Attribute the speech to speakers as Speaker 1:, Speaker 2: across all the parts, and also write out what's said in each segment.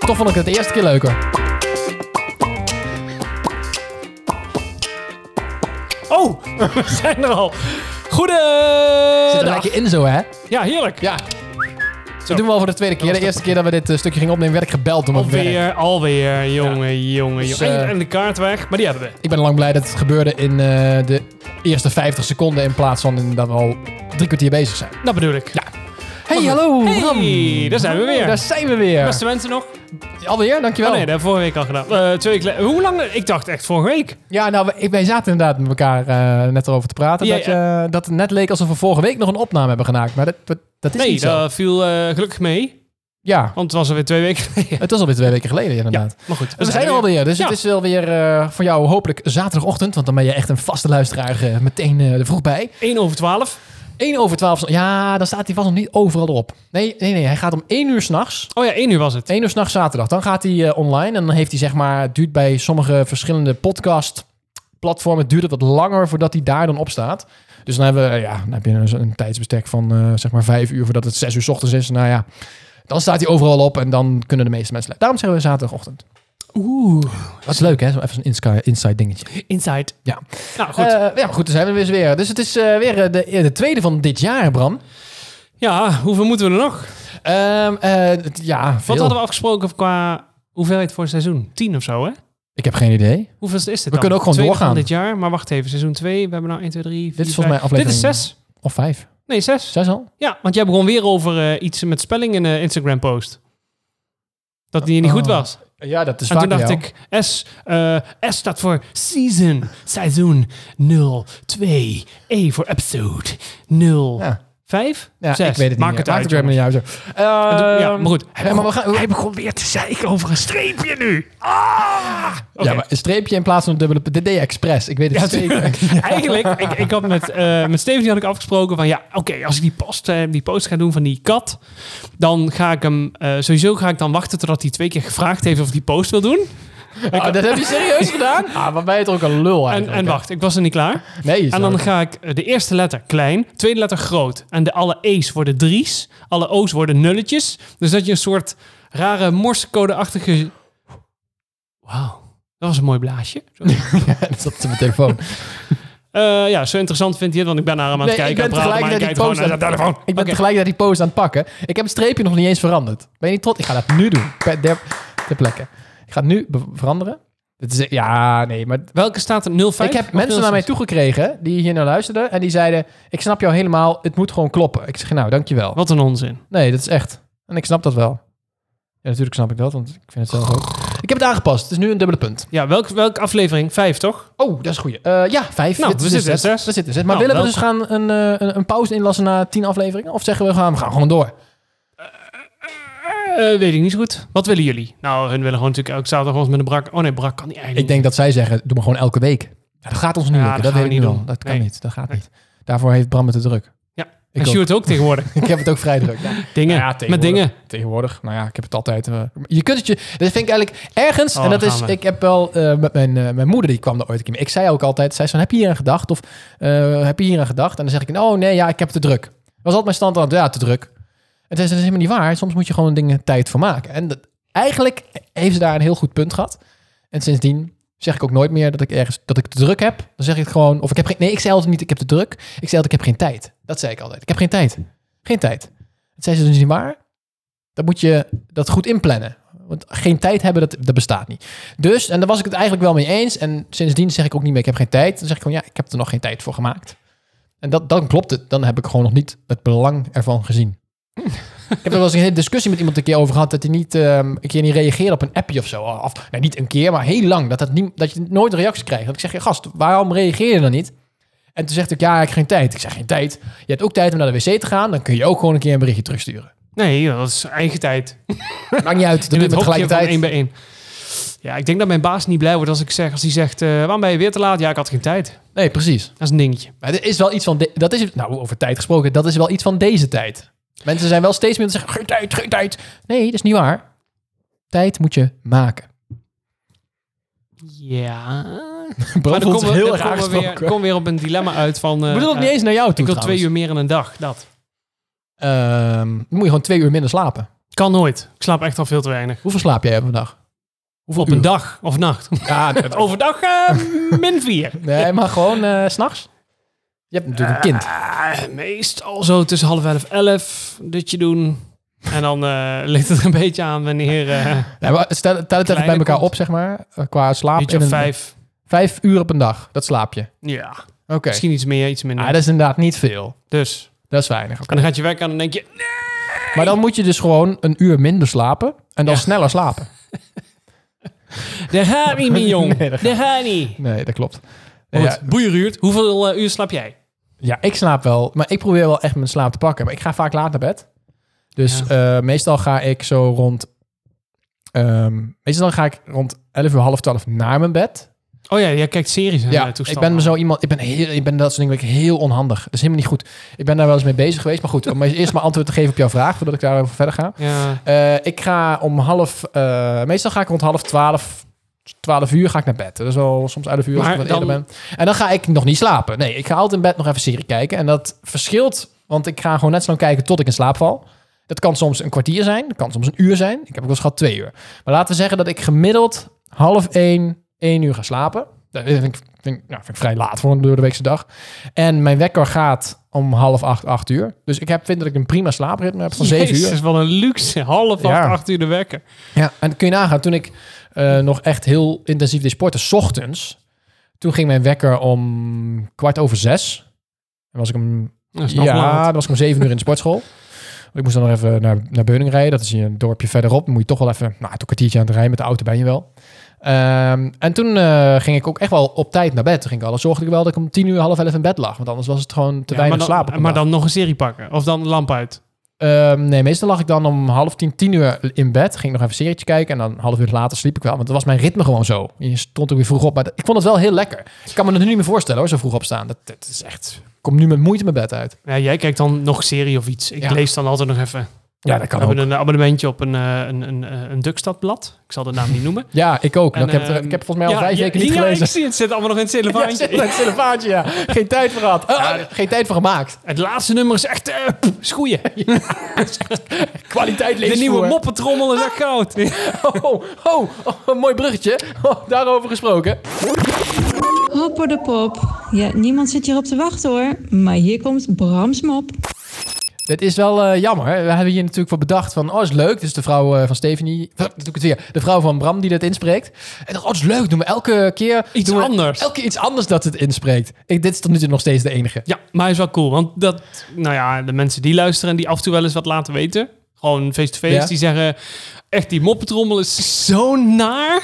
Speaker 1: vond ik het de eerste keer leuker.
Speaker 2: Oh, we zijn er al.
Speaker 1: Zit er
Speaker 2: Goedendag.
Speaker 1: lekker in zo, hè?
Speaker 2: Ja, heerlijk.
Speaker 1: Ja. Dat doen we al voor de tweede keer. De eerste keer dat we dit eh, stukje gingen opnemen, werd ik gebeld om het werk.
Speaker 2: Alweer, alweer. Jongen, jongen,
Speaker 1: Dus,
Speaker 2: jongen.
Speaker 1: eh,
Speaker 2: En, en de kaart weg, maar die hebben we.
Speaker 1: Ik ben lang blij dat het gebeurde in eh, de eerste 50 seconden in plaats van in dat we al drie kwartier bezig zijn.
Speaker 2: Dat bedoel ik.
Speaker 1: Ja. Hey, hallo,
Speaker 2: Hey,
Speaker 1: Bram.
Speaker 2: daar zijn we
Speaker 1: Hallo,
Speaker 2: weer.
Speaker 1: Daar zijn we weer.
Speaker 2: Beste mensen nog?
Speaker 1: Alweer, dankjewel.
Speaker 2: Oh nee, dat hebben we vorige week al gedaan. Eh, twee weken le- Hoe lang? Ik dacht echt vorige week.
Speaker 1: Ja, nou, we- ik- wij zaten inderdaad met elkaar eh, net erover te praten.
Speaker 2: Ja,
Speaker 1: dat, je, dat het net leek alsof we vorige week nog een opname hebben gemaakt. Maar dat, dat, dat is
Speaker 2: nee,
Speaker 1: niet zo.
Speaker 2: dat viel eh, gelukkig mee.
Speaker 1: Ja,
Speaker 2: Want het was alweer twee weken geleden.
Speaker 1: het was alweer twee weken geleden inderdaad.
Speaker 2: Maar goed.
Speaker 1: we zijn er alweer, dus
Speaker 2: Ja.
Speaker 1: het is wel weer eh, voor jou hopelijk zaterdagochtend. Want dan ben je echt een vaste luisteraar eh, meteen eh, er vroeg bij.
Speaker 2: 1 over 12.
Speaker 1: 1 over 12. Ja, dan staat hij vast nog niet overal erop. Nee, nee, nee. Hij gaat om 1 uur s'nachts.
Speaker 2: Oh ja, 1 uur was het.
Speaker 1: 1 uur s'nachts zaterdag. Dan gaat hij eh, online. En dan heeft hij, zeg maar, het duurt bij sommige verschillende podcast platformen duurt het wat langer voordat hij daar dan op staat. Dus dan, hebben we, eh, ja, dan heb je een, een tijdsbestek van eh, zeg maar vijf uur voordat het zes uur 's ochtends is. Nou ja, dan staat hij overal op en dan kunnen de meeste mensen... Daarom zeggen we zaterdagochtend.
Speaker 2: Oeh.
Speaker 1: Dat is leuk, hè? Zo even een inside, inside dingetje.
Speaker 2: Inside.
Speaker 1: Ja.
Speaker 2: Nou, goed.
Speaker 1: Eh, ja, maar goed, daar zijn we dus weer. Dus het is eh, weer eh, de, de tweede van dit jaar, Bram.
Speaker 2: ja, hoeveel moeten we er nog?
Speaker 1: Ehm, eh, het- ja, veel.
Speaker 2: Wat hadden we afgesproken qua hoeveelheid voor het seizoen? 10 of zo, hè?
Speaker 1: Ik heb geen idee.
Speaker 2: Hoeveel is dit dan?
Speaker 1: We kunnen ook gewoon
Speaker 2: Tweede
Speaker 1: doorgaan.
Speaker 2: van dit jaar, maar wacht even. Seizoen 2, we hebben nou 1, 2, 3, 4,
Speaker 1: Dit is volgens mij aflevering-
Speaker 2: Dit is 6.
Speaker 1: Of vijf.
Speaker 2: Nee, 6.
Speaker 1: Zes al?
Speaker 2: Ja, want jij begon weer over eh, iets met spelling in een Instagram-post. Dat die niet goed
Speaker 1: Oh.
Speaker 2: was.
Speaker 1: Ja, dat is
Speaker 2: en
Speaker 1: vaak
Speaker 2: toen dacht
Speaker 1: bij jou.
Speaker 2: ik, S, eh, S staat voor season, seizoen 0, 2, E voor episode 0,
Speaker 1: Ja.
Speaker 2: 5,
Speaker 1: Ja,
Speaker 2: 6.
Speaker 1: ik weet het
Speaker 2: Maak
Speaker 1: niet.
Speaker 2: het
Speaker 1: meer.
Speaker 2: uit.
Speaker 1: Maakt het
Speaker 2: jongens.
Speaker 1: weer niet uit. zo.
Speaker 2: En toen- ja,
Speaker 1: Ehm,
Speaker 2: maar goed.
Speaker 1: ja,
Speaker 2: Hij
Speaker 1: maar
Speaker 2: begon,
Speaker 1: we gaan,
Speaker 2: hij begon weer te zeiken over een streepje nu. Ah! Oké.
Speaker 1: ja, maar een streepje in plaats van een dubbele... p- Dit deed je expres. Ik weet het
Speaker 2: Ja,
Speaker 1: zeker.
Speaker 2: Eigenlijk, ik, ik had met, eh met Steven die had ik afgesproken van ja, oké, als ik die post, eh, die post ga doen van die kat, dan ga ik hem, eh, sowieso ga ik dan wachten totdat hij twee keer gevraagd heeft of hij die post wil doen.
Speaker 1: Ah, dat heb je serieus gedaan? Ah, maar ben je toch ook een lul
Speaker 2: En,
Speaker 1: eigenlijk.
Speaker 2: en
Speaker 1: hè?
Speaker 2: wacht, ik was er niet klaar.
Speaker 1: Nee,
Speaker 2: En dan ga ik eh, de eerste letter klein, tweede letter groot. En de alle E's worden drie's, alle O's worden nulletjes. Dus dat je een soort rare morsecode-achtige... Wauw, dat was een mooi blaasje. Zo.
Speaker 1: dat zat op mijn telefoon.
Speaker 2: Eh, ja, zo interessant vind je het, want ik ben naar hem aan het
Speaker 1: Nee, ik
Speaker 2: kijken.
Speaker 1: ben
Speaker 2: en praten, maar
Speaker 1: tegelijk naar
Speaker 2: hij
Speaker 1: die
Speaker 2: kijkt gewoon
Speaker 1: post aan
Speaker 2: naar de telefoon.
Speaker 1: Ik ben
Speaker 2: Oké.
Speaker 1: tegelijkertijd die post aan het pakken. Ik heb het streepje nog niet eens veranderd. Ben je niet trots? Ik ga dat nu doen. Per- Der, ter plekke. Ik ga het nu be- veranderen. Dit is, ja, nee, maar
Speaker 2: Welke staat er? 05?
Speaker 1: Ik heb mensen naar mij toegekregen die hier naar luisterden. En die zeiden, ik snap jou helemaal. Het moet gewoon kloppen. Ik zeg, nou, dankjewel.
Speaker 2: Wat een onzin.
Speaker 1: Nee, dat is echt. En ik snap dat wel. Ja, natuurlijk snap ik dat, want ik vind het zelf ook. Ik heb het aangepast. Het is nu een dubbele punt.
Speaker 2: Ja, welke, welke aflevering? Vijf, toch?
Speaker 1: Oh, dat is een goeie. Eh, ja, vijf.
Speaker 2: Nou,
Speaker 1: Dit
Speaker 2: we
Speaker 1: is
Speaker 2: zitten
Speaker 1: het.
Speaker 2: in zes.
Speaker 1: We zitten in zes. Maar
Speaker 2: Nou,
Speaker 1: willen we dus gaan een, eh, een, een pauze inlassen na tien afleveringen? Of zeggen we, gaan, we gaan gewoon door?
Speaker 2: Eh, weet ik niet zo goed. Wat willen jullie? Nou, hun willen gewoon natuurlijk elke zaterdag ons met een brak. Oh nee, brak kan niet eigenlijk.
Speaker 1: Ik denk dat zij zeggen, doe maar gewoon elke week. Ja, dat gaat ons niet
Speaker 2: Ja,
Speaker 1: lukken. Dat,
Speaker 2: dat gaan
Speaker 1: weet ik
Speaker 2: we
Speaker 1: nu
Speaker 2: niet
Speaker 1: al.
Speaker 2: doen.
Speaker 1: Dat kan
Speaker 2: Nee.
Speaker 1: niet. Dat gaat niet. Daarvoor heeft Bram het te druk.
Speaker 2: Ja.
Speaker 1: Ik,
Speaker 2: en
Speaker 1: ook.
Speaker 2: Sjoerd ook tegenwoordig.
Speaker 1: ik heb het ook vrij druk. Ja.
Speaker 2: Dingen.
Speaker 1: Nou ja,
Speaker 2: met
Speaker 1: tegenwoordig.
Speaker 2: dingen.
Speaker 1: Tegenwoordig, nou ja, ik heb het altijd. eh, je kunt het je. Dat vind ik eigenlijk ergens.
Speaker 2: Oh,
Speaker 1: en dat
Speaker 2: daar
Speaker 1: is.
Speaker 2: gaan we.
Speaker 1: Ik heb wel eh, met mijn, eh, mijn moeder, die kwam er ooit een keer mee. Ik zei ook altijd: zei zo, heb je hier aan gedacht? Of eh, heb je hier aan gedacht? En dan zeg ik: Oh nee, ja, ik heb te druk. Dat was altijd mijn standaard. Ja, te druk. En zei ze: Dat is helemaal niet waar. Soms moet je gewoon dingen tijd voor maken. En dat, eigenlijk heeft ze daar een heel goed punt gehad. En sindsdien zeg ik ook nooit meer dat ik ergens dat ik te druk heb. Dan zeg ik het gewoon. Of ik heb geen. Nee, ik zei altijd niet: Ik heb te druk. Ik zei altijd: Ik heb geen tijd. Dat zei ik altijd. Ik heb geen tijd. Geen tijd. Dat zei ze dus niet waar. Dan moet je dat goed inplannen. Want geen tijd hebben, dat, dat bestaat niet. Dus, en daar was ik het eigenlijk wel mee eens. En sindsdien zeg ik ook niet meer, ik heb geen tijd. Dan zeg ik gewoon, ja, ik heb er nog geen tijd voor gemaakt. En dat, dan klopt het. Dan heb ik gewoon nog niet het belang ervan gezien. ik heb er wel eens een hele discussie met iemand een keer over gehad... dat hij niet ehm, een keer niet reageerde op een appje of zo. Of, nee, niet een keer, maar heel lang. Dat, dat, niet, dat je nooit een reactie krijgt. Dat ik zeg, ja, gast, waarom reageer je dan niet? En toen zegt ik, ja, ik heb geen tijd. Ik zeg, geen tijd. Je hebt ook tijd om naar de wc te gaan. Dan kun je ook gewoon een keer een berichtje terugsturen.
Speaker 2: Nee, dat is eigen tijd.
Speaker 1: Maakt niet uit, dat
Speaker 2: In
Speaker 1: doen we
Speaker 2: het hokje van één
Speaker 1: tegelijkertijd.
Speaker 2: bij één. Ja, ik denk dat mijn baas niet blij wordt als ik zeg, als hij zegt, eh, waarom ben je weer te laat? Ja, ik had geen tijd.
Speaker 1: Nee, precies.
Speaker 2: Dat is een dingetje.
Speaker 1: Maar er is wel iets van... de- dat is, nou, over tijd gesproken, dat is wel iets van deze tijd. Mensen zijn wel steeds meer te zeggen, geen tijd, geen tijd. Nee, dat is niet waar. Tijd moet je maken.
Speaker 2: Ja.
Speaker 1: Bram
Speaker 2: dan
Speaker 1: voelt zich
Speaker 2: komen
Speaker 1: heel
Speaker 2: we, dan
Speaker 1: erg
Speaker 2: komen we weer,
Speaker 1: aangesproken.
Speaker 2: komen we weer op een dilemma uit van... eh,
Speaker 1: Ik bedoel ook
Speaker 2: eh,
Speaker 1: niet eens naar jou toe
Speaker 2: ik wil
Speaker 1: trouwens.
Speaker 2: twee uur meer in een dag, dat.
Speaker 1: Ehm, dan moet je gewoon twee uur minder slapen.
Speaker 2: Kan nooit. Ik slaap echt al veel te weinig.
Speaker 1: Hoeveel slaap jij op een dag?
Speaker 2: Hoeveel op een
Speaker 1: uur?
Speaker 2: dag of nacht.
Speaker 1: Ja, dat-
Speaker 2: Overdag eh, min vier.
Speaker 1: nee, maar gewoon eh, s s'nachts? Je hebt natuurlijk een kind.
Speaker 2: Eh, meestal zo tussen half elf, elf. Dutje doen. En dan eh ligt het er een beetje aan wanneer... eh
Speaker 1: Nee, maar stel, tel het even
Speaker 2: Kleine
Speaker 1: bij elkaar
Speaker 2: komt.
Speaker 1: op, zeg maar. eh, Qua slaap.
Speaker 2: uurtje
Speaker 1: in
Speaker 2: of
Speaker 1: een-
Speaker 2: vijf.
Speaker 1: Vijf uur op een dag, dat slaap je. Oké.
Speaker 2: Ja, misschien iets meer, iets minder.
Speaker 1: Ah, dat is inderdaad niet veel.
Speaker 2: Dus.
Speaker 1: Dat is weinig. oké.
Speaker 2: En dan gaat je werk aan en dan denk je...
Speaker 1: Maar dan moet je dus gewoon een uur minder slapen en dan
Speaker 2: Ja.
Speaker 1: sneller slapen.
Speaker 2: Daar gaat niet meer, jong.
Speaker 1: Nee,
Speaker 2: daar
Speaker 1: dat
Speaker 2: gaat niet.
Speaker 1: Nee, dat klopt. Nee,
Speaker 2: Goed,
Speaker 1: ja,
Speaker 2: boeieruurt. Hoeveel eh, uur slaap jij?
Speaker 1: ja, ik slaap wel, maar ik probeer wel echt mijn slaap te pakken. Maar ik ga vaak laat naar bed. Dus eh, meestal ga ik zo rond. ehm, meestal ga ik rond 11 uur, half 12 naar mijn bed.
Speaker 2: Oh ja, jij kijkt series en eh,
Speaker 1: Ja, ik
Speaker 2: toestanden.
Speaker 1: ben zo iemand. Ik ben, heel, ik ben dat soort dingen ben ik heel onhandig. Dat is helemaal niet goed. Ik ben daar wel eens mee bezig geweest. Maar goed, om eerst maar antwoord te geven op jouw vraag voordat ik daarover verder ga.
Speaker 2: Ja.
Speaker 1: Eh, ik ga om half... eh, meestal ga ik rond half twaalf... 12 uur ga ik naar bed. Dat is wel soms 11 uur als
Speaker 2: Maar
Speaker 1: ik wat eerder
Speaker 2: dan-
Speaker 1: ben. En dan ga ik nog niet slapen. Nee, ik ga altijd in bed nog even serie kijken. En dat verschilt, want ik ga gewoon net zo lang kijken tot ik in slaap val. Dat kan soms een kwartier zijn, dat kan soms een uur zijn. Ik heb ook wel eens gehad twee uur. Maar laten we zeggen dat ik gemiddeld half één, één uur ga slapen. Dat vind ik, vind, ik- nou, vind ik vrij laat voor een door de weekse dag. En mijn wekker gaat om half acht, acht uur. Dus ik heb, vind dat ik een prima slaapritme heb van zeven uur.
Speaker 2: Jezus, wat een luxe. Half acht,
Speaker 1: Ja.
Speaker 2: acht uur de wekker.
Speaker 1: Ja, en dat kun je nagaan. Toen ik eh, nog echt heel intensief deed sporten, 's ochtends. Toen ging mijn wekker om kwart over zes. En was ik om,
Speaker 2: Dat is nog
Speaker 1: ja,
Speaker 2: laat.
Speaker 1: dan was ik om zeven uur in de sportschool. Want Ik moest dan nog even naar, naar Beuning rijden. Dat is hier een dorpje verderop. Dan moet je toch wel even, nou, toch een kwartiertje aan het rijden. Met de auto ben je wel. Ehm, en toen eh, ging ik ook echt wel op tijd naar bed. Toen ging ik alles zorgde ik wel dat ik om tien uur, half elf in bed lag. Want anders was het gewoon te
Speaker 2: Ja,
Speaker 1: weinig
Speaker 2: maar dan,
Speaker 1: slapen. op een
Speaker 2: Maar
Speaker 1: dag.
Speaker 2: dan nog een serie pakken. Of dan lamp uit.
Speaker 1: Ehm, nee, meestal lag ik dan om half tien, tien uur in bed. Ging nog even een serietje kijken. En dan een half uur later sliep ik wel. Want dat was mijn ritme gewoon zo. Je stond ook weer vroeg op. Maar dat- ik vond het wel heel lekker. Ik kan me het nu niet meer voorstellen hoor, zo vroeg opstaan. Dat, dat is echt... Ik kom nu met moeite mijn bed uit.
Speaker 2: Ja, jij kijkt dan nog serie of iets. Ik
Speaker 1: Ja.
Speaker 2: lees dan altijd nog even.
Speaker 1: Ja, dat
Speaker 2: We
Speaker 1: kan ook.
Speaker 2: hebben een abonnementje op een, eh, een, een, eh, een Dukstadblad. Ik zal de naam niet noemen.
Speaker 1: Ja, ik ook.
Speaker 2: En,
Speaker 1: ik, heb, het-
Speaker 2: ehm,
Speaker 1: ik heb volgens mij al
Speaker 2: ja,
Speaker 1: vijf
Speaker 2: ja,
Speaker 1: weken niet
Speaker 2: ja,
Speaker 1: gelezen.
Speaker 2: ik zie het. zit allemaal nog in het
Speaker 1: Ja,
Speaker 2: telefoon.
Speaker 1: zit in het telefoantje, ja. Geen tijd voor gehad. Oh,
Speaker 2: Ja.
Speaker 1: Geen tijd voor gemaakt.
Speaker 2: het laatste nummer is echt eh pff, schoeien.
Speaker 1: Kwaliteit
Speaker 2: De
Speaker 1: leesvoer.
Speaker 2: nieuwe moppetrommel is echt goud.
Speaker 1: Oh, oh, oh, een mooi bruggetje. Oh, daarover gesproken.
Speaker 3: Hopper de pop. Ja, niemand zit hierop te wachten hoor. Maar hier komt Brams mop.
Speaker 1: Dit is wel eh, jammer. hè. We hebben hier natuurlijk voor bedacht van... Oh, is leuk. Dit is de vrouw eh, van Stephanie. Wat, doe ik het weer. De vrouw van Bram die dat inspreekt. En dacht, oh, dat is leuk. Doen we elke keer...
Speaker 2: Iets
Speaker 1: doen we
Speaker 2: anders.
Speaker 1: Elke keer iets anders dat het inspreekt. Ik, dit is tot nu toe nog steeds de enige.
Speaker 2: Ja, maar hij is wel cool. Want dat, nou ja, de mensen die luisteren en die af en toe wel eens wat laten weten. Gewoon face-to-face.
Speaker 1: Ja.
Speaker 2: Die zeggen, echt die moppetrommel is zo naar.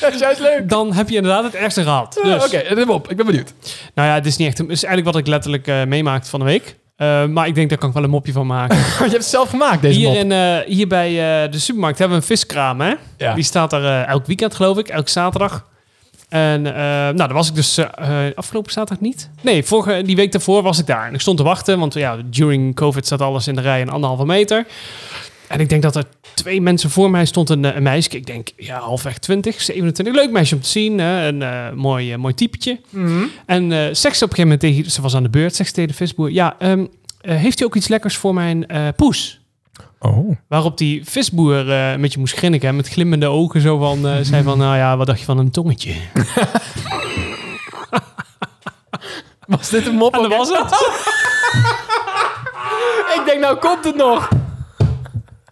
Speaker 1: Dat is juist leuk.
Speaker 2: Dan heb je inderdaad het ergste gehad.
Speaker 1: Eh,
Speaker 2: Dus,
Speaker 1: Oké, eh, neem op. Ik ben benieuwd.
Speaker 2: nou ja, het is niet echt... Het is eigenlijk wat ik letterlijk eh meemaakte van de week. Eh, maar ik denk, daar kan ik wel een mopje van maken.
Speaker 1: Je hebt het zelf gemaakt, deze
Speaker 2: Hier,
Speaker 1: mop.
Speaker 2: in, eh, hier bij eh, de supermarkt hebben we een viskraam, hè?
Speaker 1: Ja.
Speaker 2: Die staat er eh, elk weekend, geloof ik. Elk zaterdag. En eh, nou, daar was ik dus eh, eh, afgelopen zaterdag niet. Nee, vorige, die week daarvoor was ik daar. En ik stond te wachten, want ja, during COVID staat alles in de rij een anderhalve meter. En ik denk dat er twee mensen voor mij stond een, eh, een meisje. Ik denk, ja, halfweg 20, 27. Leuk meisje om te zien. hè? Een eh, mooi, eh, mooi typetje. En eh, zegt ze op een gegeven moment tegen... Ze was aan de beurt, zegt ze tegen de visboer. Ja, ehm, eh, heeft u ook iets lekkers voor mijn eh, poes?
Speaker 1: Oh.
Speaker 2: Waarop die visboer eh, een beetje moest grinniken. hè, Met glimmende ogen zo van... eh, zei van, nou ja, wat dacht je van een tongetje? En
Speaker 1: Was dit een mop?
Speaker 2: dat was het.
Speaker 1: Ik denk, nou komt het nog.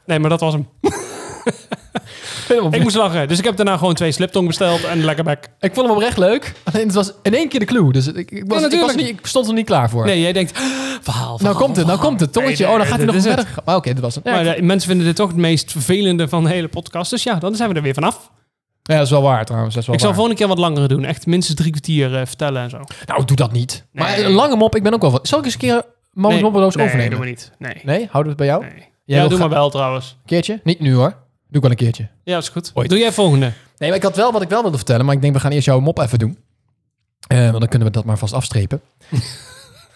Speaker 2: Nee, maar dat was hem.
Speaker 1: Helemaal
Speaker 2: Ik
Speaker 1: ik,
Speaker 2: moest lachen. Dus ik heb daarna gewoon twee sliptong besteld en lekker bek.
Speaker 1: ik vond hem oprecht leuk. Alleen het was in één keer de clue. Dus ik, ik, was, ik, was
Speaker 2: natuurlijk.
Speaker 1: niet, ik stond er niet klaar voor.
Speaker 2: Nee, jij denkt... Verhaal, verhaal
Speaker 1: Nou komt het, nou komt het. Tongetje.
Speaker 2: Nee,
Speaker 1: Oh, dan
Speaker 2: nee,
Speaker 1: gaat hij nog
Speaker 2: dit is het.
Speaker 1: verder. Maar Oké, dit was het. Ja,
Speaker 2: Maar eh, mensen vinden dit toch het meest vervelende van de hele podcast. Dus ja, dan zijn we er weer vanaf.
Speaker 1: Ja, dat is wel waar trouwens. Dat is wel
Speaker 2: Ik zal
Speaker 1: waar.
Speaker 2: volgende keer wat langer doen. Echt minstens drie kwartier eh, vertellen en zo.
Speaker 1: Nou, doe dat niet.
Speaker 2: Nee.
Speaker 1: Maar een lange mop, ik ben ook wel van. Zal ik eens een keer Moment
Speaker 2: nee,
Speaker 1: moppeloos
Speaker 2: nee,
Speaker 1: overnemen?
Speaker 2: doen we niet. Nee.
Speaker 1: Nee, houden we het bij jou?
Speaker 2: nee.
Speaker 1: Jij
Speaker 2: Ja,
Speaker 1: wil
Speaker 2: doe
Speaker 1: gra-
Speaker 2: maar wel trouwens.
Speaker 1: Een keertje? Niet nu hoor. Doe ik wel een keertje.
Speaker 2: Ja, is goed.
Speaker 1: Ooit. Oh,
Speaker 2: Doe jij volgende.
Speaker 1: Nee, maar ik had wel wat ik wel wilde vertellen, maar ik denk we gaan eerst jouw mop even doen. Eh, want dan kunnen we dat maar vast afstrepen.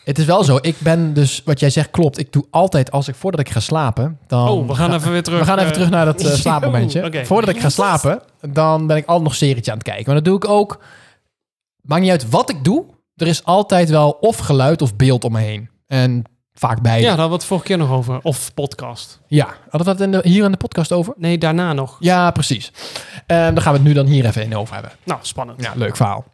Speaker 1: het is wel zo, ik ben dus, wat jij zegt klopt. Ik doe altijd, als ik voordat ik ga slapen, dan...
Speaker 2: Oh, we gaan even weer terug.
Speaker 1: We gaan even
Speaker 2: eh,
Speaker 1: terug naar dat eh,
Speaker 2: Yo,
Speaker 1: slaapmomentje.
Speaker 2: oké.
Speaker 1: Voordat ik ga slapen, dan ben ik altijd nog een serietje aan het kijken. Maar dat doe ik ook. Maakt niet uit wat ik doe. Er is altijd wel of geluid of beeld om me heen. En Vaak bij.
Speaker 2: Ja, daar
Speaker 1: Ja,
Speaker 2: hadden we het vorige keer nog over. Of podcast.
Speaker 1: hadden we dat in de, hier in de podcast over?
Speaker 2: Nee, daarna nog.
Speaker 1: Ja, precies. Ehm, daar gaan we het nu dan hier even in over hebben.
Speaker 2: Nou, spannend.
Speaker 1: Ja, leuk verhaal.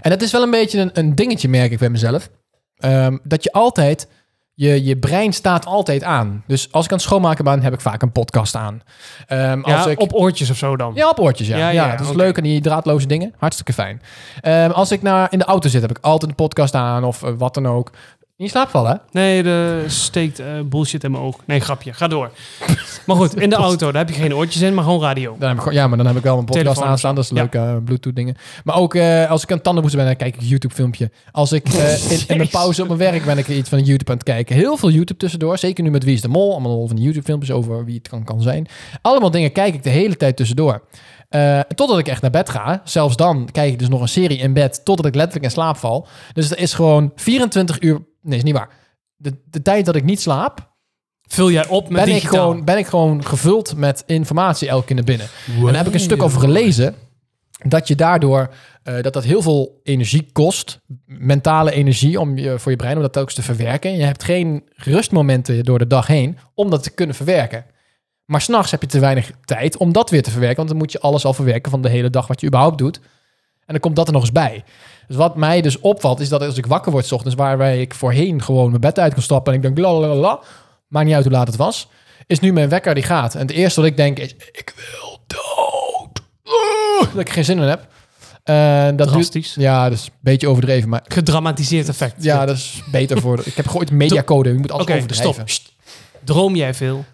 Speaker 1: En dat is wel een beetje een, een dingetje, merk ik bij mezelf. Ehm, dat je altijd, je, je brein staat altijd aan. Dus als ik aan het schoonmaken ben, heb ik vaak een podcast aan. Ehm,
Speaker 2: Ja,
Speaker 1: als ik,
Speaker 2: op oortjes of zo dan.
Speaker 1: ja, op oortjes, ja.
Speaker 2: Ja,
Speaker 1: ja,
Speaker 2: ja,
Speaker 1: dat is
Speaker 2: oké.
Speaker 1: leuk en die draadloze dingen. Hartstikke fijn. Ehm, als ik naar, in de auto zit, heb ik altijd een podcast aan of eh, wat dan ook. In slaap vallen, hè?
Speaker 2: Nee, de steekt eh, bullshit in mijn oog. Nee, grapje. Ga door. maar goed, in de auto, daar heb je geen oortjes in, maar gewoon radio.
Speaker 1: Dan heb ik, gewoon- ja, maar dan heb ik wel mijn podcast
Speaker 2: Telefoon.
Speaker 1: aanstaan. Dat is leuk, eh, bluetooth dingen. Maar ook eh, als ik aan tanden ben, dan kijk ik een YouTube filmpje. Als ik eh, in, in mijn
Speaker 2: Jezus.
Speaker 1: pauze op mijn werk ben, ik iets van YouTube aan het kijken. Heel veel YouTube tussendoor. Zeker nu met Wie is de Mol. Allemaal van die YouTube filmpjes over wie het kan, kan zijn. Allemaal dingen kijk ik de hele tijd tussendoor. Eh, totdat ik echt naar bed ga. Zelfs dan kijk ik dus nog een serie in bed. Totdat ik letterlijk in slaap val. Dus er is gewoon 24 uur... Nee, is niet waar. De, de tijd dat ik niet slaap,
Speaker 2: Vul jij op met
Speaker 1: ben ik,
Speaker 2: digitaal.
Speaker 1: gewoon, ben ik gewoon gevuld met informatie elke keer naar binnen. En daar heb ik een stuk
Speaker 2: Wow.
Speaker 1: over gelezen. Dat je daardoor eh, dat dat heel veel energie kost. Mentale energie om je, voor je brein om dat telkens te verwerken. Je hebt geen rustmomenten door de dag heen om dat te kunnen verwerken. Maar s'nachts heb je te weinig tijd om dat weer te verwerken. Want dan moet je alles al verwerken van de hele dag wat je überhaupt doet. En dan komt dat er nog eens bij. Dus wat mij dus opvalt, is dat als ik wakker word 's ochtends, waarbij ik voorheen gewoon mijn bed uit kon stappen en ik denk la la la la, maakt niet uit hoe laat het was, is nu mijn wekker die gaat. En het eerste wat ik denk is, ik wil dood. Oeh, dat ik er geen zin in heb. Eh, dat
Speaker 2: Drastisch.
Speaker 1: Duurt, ja, dat is een beetje overdreven, maar
Speaker 2: Gedramatiseerd effect.
Speaker 1: ja, dat is beter voor... de- ik heb gehoord mediacode, je moet alles
Speaker 2: Oké,
Speaker 1: overdrijven.
Speaker 2: stop. Sst. Droom jij veel?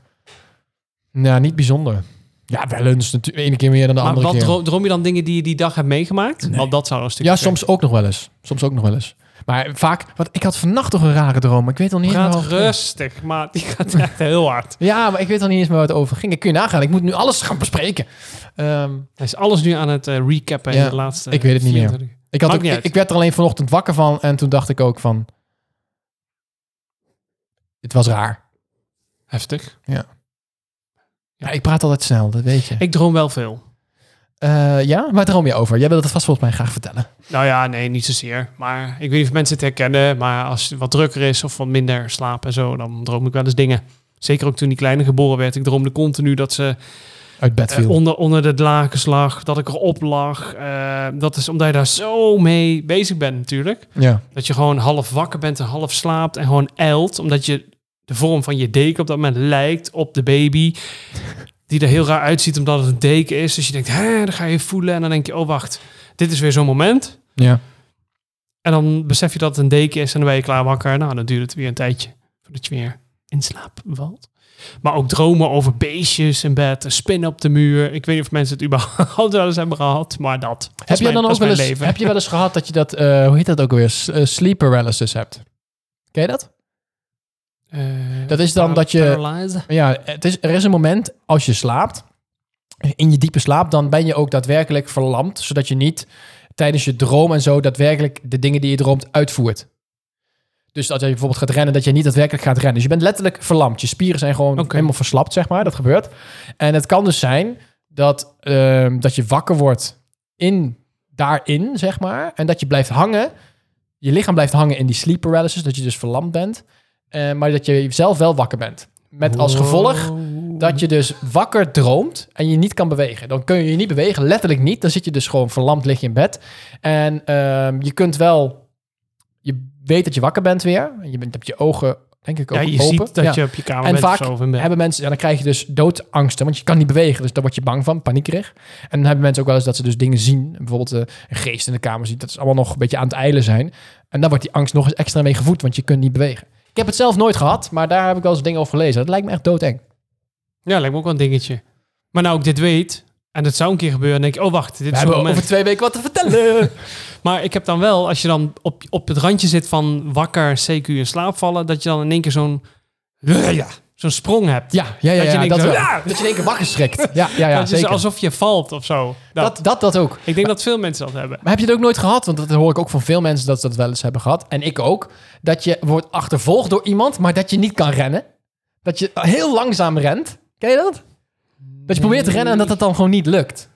Speaker 1: Nou, niet bijzonder. Ja, wel eens natuurlijk. Ene keer meer dan de
Speaker 2: maar
Speaker 1: andere
Speaker 2: wat
Speaker 1: keer.
Speaker 2: droom, droom je dan dingen die je die dag hebt meegemaakt? Want dat zou dan een stukje
Speaker 1: Ja,
Speaker 2: zijn.
Speaker 1: soms ook nog wel eens. Soms ook nog wel eens. Maar vaak, want ik had vannacht toch een rare droom. maar Ik weet al niet
Speaker 2: Praat
Speaker 1: meer waar het-
Speaker 2: rustig, maar die gaat echt heel hard.
Speaker 1: Ja, maar ik weet al niet eens meer waar het over ging. Ik kun je nagaan. Ik moet nu alles gaan bespreken. Ehm,
Speaker 2: Hij is alles nu aan het eh, recappen in
Speaker 1: Ja,
Speaker 2: de laatste
Speaker 1: ik weet het niet meer.
Speaker 2: 24 uur.
Speaker 1: ik, had
Speaker 2: Maakt
Speaker 1: ook,
Speaker 2: niet
Speaker 1: ik,
Speaker 2: uit.
Speaker 1: ik werd er alleen vanochtend wakker van. En toen dacht ik ook van... Het was raar.
Speaker 2: Heftig.
Speaker 1: Ja, ik praat altijd snel, dat weet je.
Speaker 2: Ik droom wel veel.
Speaker 1: Eh, ja, waar droom je over? Jij wil het vast volgens mij graag vertellen.
Speaker 2: Nou ja, nee, niet zozeer. Maar ik weet niet of mensen het herkennen. Maar als het wat drukker is of wat minder slaap en zo, dan droom ik wel eens dingen. Zeker ook toen die kleine geboren werd. Ik droomde continu dat ze
Speaker 1: Uit bed
Speaker 2: eh,
Speaker 1: viel.
Speaker 2: onder, onder de lakens lag, dat ik erop lag. Eh, dat is omdat je daar zo mee bezig bent natuurlijk.
Speaker 1: ja.
Speaker 2: Dat je gewoon half wakker bent en half slaapt en gewoon eilt. Omdat je de vorm van je deken op dat moment lijkt op de baby. Die er heel raar uitziet omdat het een deken is. Dus je denkt, hè, dan ga je voelen. En dan denk je, oh wacht, dit is weer zo'n moment.
Speaker 1: ja.
Speaker 2: En dan besef je dat het een deken is en dan ben je klaar wakker. Nou, dan duurt het weer een tijdje voordat je weer in slaap valt. Maar ook dromen over beestjes in bed, een spin op de muur. Ik weet niet of mensen het überhaupt wel eens hebben gehad, maar dat. dat is
Speaker 1: Heb je
Speaker 2: mijn-
Speaker 1: dan
Speaker 2: dat
Speaker 1: ook
Speaker 2: is
Speaker 1: wel
Speaker 2: mijn
Speaker 1: eens,
Speaker 2: leven.
Speaker 1: heb je wel eens gehad dat je dat, eh, hoe heet dat ook weer, S- eh, sleep paralysis hebt? Ken je dat?
Speaker 2: Eh,
Speaker 1: Dat is dan
Speaker 2: par-
Speaker 1: dat je-
Speaker 2: paralyse?
Speaker 1: Ja, het is, er is een moment als je slaapt, in je diepe slaap, dan ben je ook daadwerkelijk verlamd, zodat je niet tijdens je droom en zo daadwerkelijk de dingen die je droomt uitvoert. Dus als je bijvoorbeeld gaat rennen, dat je niet daadwerkelijk gaat rennen. Dus je bent letterlijk verlamd. Je spieren zijn gewoon
Speaker 2: Oké.
Speaker 1: helemaal verslapt, zeg maar. Dat gebeurt. En het kan dus zijn dat, ehm, dat je wakker wordt in, daarin, zeg maar. En dat je blijft hangen. Je lichaam blijft hangen in die sleep paralysis. Dat je dus verlamd bent. Eh, maar dat je zelf wel wakker bent. Met als gevolg
Speaker 2: Wow.
Speaker 1: dat je dus wakker droomt en je niet kan bewegen. Dan kun je je niet bewegen, letterlijk niet. Dan zit je dus gewoon verlamd, lig je in bed. En ehm, je kunt wel... Je weet dat je wakker bent weer. En je bent, heb je ogen, denk ik, ook
Speaker 2: Ja, je
Speaker 1: open.
Speaker 2: ziet dat
Speaker 1: Ja.
Speaker 2: je op je kamer
Speaker 1: En
Speaker 2: bent
Speaker 1: vaak
Speaker 2: of zo, of in bed.
Speaker 1: hebben mensen... Ja, dan krijg je dus doodangsten, want je kan niet bewegen. Dus daar word je bang van, paniekerig. En dan hebben mensen ook wel eens dat ze dus dingen zien. Bijvoorbeeld eh, een geest in de kamer ziet. Dat is allemaal nog een beetje aan het eilen zijn. En dan wordt die angst nog eens extra mee gevoed, want je kunt niet bewegen. Ik heb het zelf nooit gehad, maar daar heb ik wel eens dingen over gelezen. Dat lijkt me echt doodeng.
Speaker 2: Ja, lijkt me ook wel een dingetje. Maar nou ik dit weet, en dat zou een keer gebeuren, dan denk ik, oh wacht, dit
Speaker 1: We
Speaker 2: is het
Speaker 1: hebben
Speaker 2: moment.
Speaker 1: over twee weken wat te vertellen.
Speaker 2: Eh. Maar ik heb dan wel, als je dan op, op het randje zit van wakker, CQ in slaap vallen, dat je dan in één keer zo'n ja, zo'n sprong hebt.
Speaker 1: ja, ja, ja,
Speaker 2: Dat je
Speaker 1: ja,
Speaker 2: denkt
Speaker 1: dat,
Speaker 2: zo,
Speaker 1: wel.
Speaker 2: ja!
Speaker 1: dat je in één keer wakker schrikt. Ja, ja, ja
Speaker 2: dat is
Speaker 1: zeker.
Speaker 2: alsof je valt of zo. Dat,
Speaker 1: dat, dat, dat ook.
Speaker 2: ik denk dat veel mensen dat hebben.
Speaker 1: Maar heb je het ook nooit gehad? Want dat hoor ik ook van veel mensen dat ze dat wel eens hebben gehad. En ik ook. Dat je wordt achtervolgd door iemand, maar dat je niet kan rennen. Dat je heel langzaam rent. Ken je dat? Dat je probeert te rennen en dat het dan gewoon niet lukt.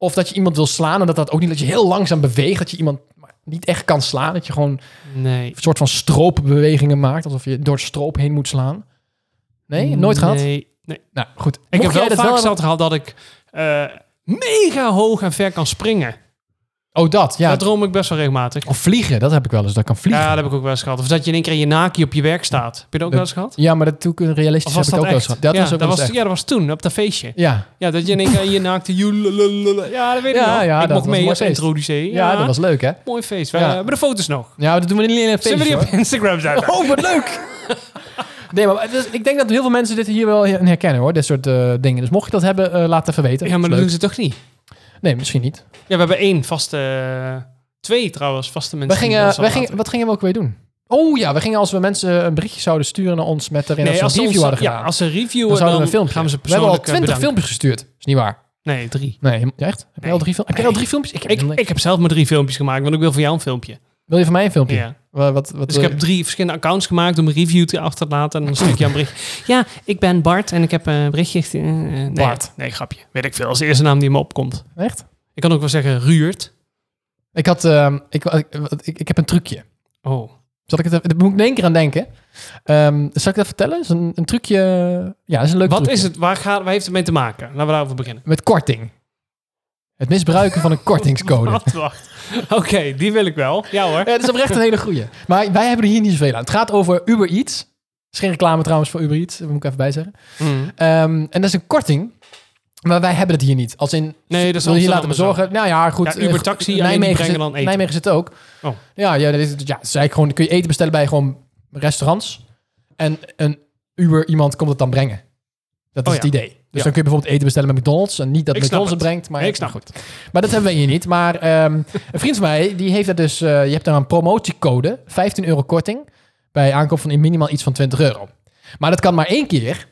Speaker 1: Of dat je iemand wil slaan en dat dat ook niet... Dat je heel langzaam beweegt, dat je iemand... maar niet echt kan slaan. Dat je gewoon een
Speaker 2: Nee.
Speaker 1: soort van stroopbewegingen maakt. Alsof je door stroop heen moet slaan. Nee, nooit gehad?
Speaker 2: Nee. nee.
Speaker 1: Nou, goed.
Speaker 2: Ik
Speaker 1: Mocht
Speaker 2: heb
Speaker 1: jij
Speaker 2: wel
Speaker 1: dat
Speaker 2: vaak
Speaker 1: hebben-
Speaker 2: zat gehad dat ik eh, mega hoog en ver kan springen.
Speaker 1: Oh, dat. Ja.
Speaker 2: Daar droom ik best wel regelmatig.
Speaker 1: Of vliegen. Dat heb ik wel eens. Dat ik kan vliegen.
Speaker 2: Ja, dat heb ik ook wel eens gehad. Of dat je in één keer in je naki op je werk staat. Heb je dat ook
Speaker 1: Dat-
Speaker 2: wel eens gehad?
Speaker 1: Ja, maar dat toen
Speaker 2: Of
Speaker 1: realistisch heb
Speaker 2: was
Speaker 1: ik
Speaker 2: dat
Speaker 1: ook wel eens
Speaker 2: echt?
Speaker 1: gehad. Dat
Speaker 2: ja,
Speaker 1: was ook wel eens echt.
Speaker 2: Ja, dat was toen, op dat feestje.
Speaker 1: Ja.
Speaker 2: Ja, dat je in één keer in je naakte... Ja, dat weet ik
Speaker 1: Ja,
Speaker 2: nog.
Speaker 1: ja, dat
Speaker 2: ik
Speaker 1: was
Speaker 2: mocht mee
Speaker 1: een mooi
Speaker 2: als
Speaker 1: feest.
Speaker 2: introducee.
Speaker 1: Ja, dat was leuk, hè?
Speaker 2: Mooi feest. We
Speaker 1: Ja.
Speaker 2: hebben de foto's nog.
Speaker 1: Ja, maar dat doen we niet alleen in een
Speaker 2: Zullen we
Speaker 1: feestje,
Speaker 2: die op
Speaker 1: hoor.
Speaker 2: Instagram zetten?
Speaker 1: Oh, wat leuk! Nee, maar het is- ik denk dat heel veel mensen dit hier wel in herkennen, hoor. Dit soort eh, dingen. Dus mocht je dat hebben, eh, laat even weten.
Speaker 2: Ja, maar
Speaker 1: Is
Speaker 2: dat doen
Speaker 1: leuk.
Speaker 2: ze toch niet?
Speaker 1: Nee, misschien niet.
Speaker 2: Ja, we hebben één vaste... eh, Twee trouwens, vaste
Speaker 1: We
Speaker 2: mensen. die
Speaker 1: gingen,
Speaker 2: ons
Speaker 1: we
Speaker 2: hadden
Speaker 1: gingen,
Speaker 2: laten-
Speaker 1: wat gingen we ook weer doen? Oh ja, we gingen als we mensen een berichtje zouden sturen naar ons met daarin
Speaker 2: Nee,
Speaker 1: dat
Speaker 2: als
Speaker 1: ze
Speaker 2: ze
Speaker 1: een
Speaker 2: ons-
Speaker 1: review hadden
Speaker 2: Ja,
Speaker 1: gedaan.
Speaker 2: als ze reviewen,
Speaker 1: dan zouden we
Speaker 2: dan
Speaker 1: een filmpje.
Speaker 2: gaan we ze
Speaker 1: we hebben al
Speaker 2: persoonlijk
Speaker 1: twintig
Speaker 2: eh, bedanken.
Speaker 1: filmpjes gestuurd. Is niet waar.
Speaker 2: Nee, drie.
Speaker 1: Nee, helemaal- ja, echt? Heb je
Speaker 2: Nee.
Speaker 1: al drie filmpjes? Heb je al drie filmpjes? Ik heb
Speaker 2: Ik,
Speaker 1: helemaal niks.
Speaker 2: ik heb zelf maar drie filmpjes gemaakt, want ik wil voor jou een filmpje.
Speaker 1: Wil je van mij een filmpje?
Speaker 2: Ja.
Speaker 1: Wa- Wat, wat,
Speaker 2: Dus ik heb drie verschillende accounts gemaakt om een review te achter te laten. En dan stuur ik jou een bericht. Ja, ik ben Bart en ik heb een berichtje. geste- eh, eh, nee,
Speaker 1: Bart.
Speaker 2: Nee, grapje. Weet ik veel. Als de eerste naam die me opkomt.
Speaker 1: Echt?
Speaker 2: Ik kan ook wel zeggen Ruurt.
Speaker 1: Ik, had, ehm, ik, ik, ik, ik heb een trucje.
Speaker 2: Oh.
Speaker 1: Zal ik het even, daar moet ik in één keer aan denken. Ehm, zal ik dat vertellen? Is een, een trucje. Ja, is een leuk
Speaker 2: Wat
Speaker 1: trucje.
Speaker 2: is het? Waar, gaat, waar heeft het mee te maken? Laten we daarover beginnen.
Speaker 1: Met korting. Het misbruiken van een kortingscode.
Speaker 2: Wat? Wacht. Oké, die wil ik wel. Ja hoor.
Speaker 1: Ja, dat is oprecht een hele goeie. Maar wij hebben er hier niet zoveel aan. Het gaat over Uber Eats. Het is geen reclame trouwens voor Uber Eats. Dat moet ik even bijzeggen.
Speaker 2: Mm.
Speaker 1: Ehm, en dat is een korting. Maar wij hebben het hier niet. Als in,
Speaker 2: Nee, dat is
Speaker 1: wil je hier
Speaker 2: Amsterdam
Speaker 1: laten
Speaker 2: en zo.
Speaker 1: bezorgen? Nou ja, goed.
Speaker 2: Ja,
Speaker 1: eh,
Speaker 2: Uber Taxi, alleen die
Speaker 1: Nijmegen
Speaker 2: brengen
Speaker 1: zit-
Speaker 2: dan eten.
Speaker 1: Nijmegen zit ook.
Speaker 2: Oh.
Speaker 1: Ja, ja, dat is, ja, dat is eigenlijk gewoon, kun je eten bestellen bij gewoon restaurants. En een Uber iemand komt het dan brengen. Dat is
Speaker 2: Oh,
Speaker 1: het
Speaker 2: ja.
Speaker 1: idee. Dus
Speaker 2: Ja.
Speaker 1: dan kun je bijvoorbeeld eten bestellen bij McDonald's. En niet dat
Speaker 2: Ik snap
Speaker 1: McDonald's het
Speaker 2: het.
Speaker 1: brengt, maar Nou
Speaker 2: Ik snap
Speaker 1: goed. Maar dat hebben we hier niet. Maar ehm, een vriend van mij, die heeft dat dus... eh, je hebt daar een promotiecode, 15 euro korting... bij aankoop van in minimaal iets van 20 euro. Maar dat kan maar één keer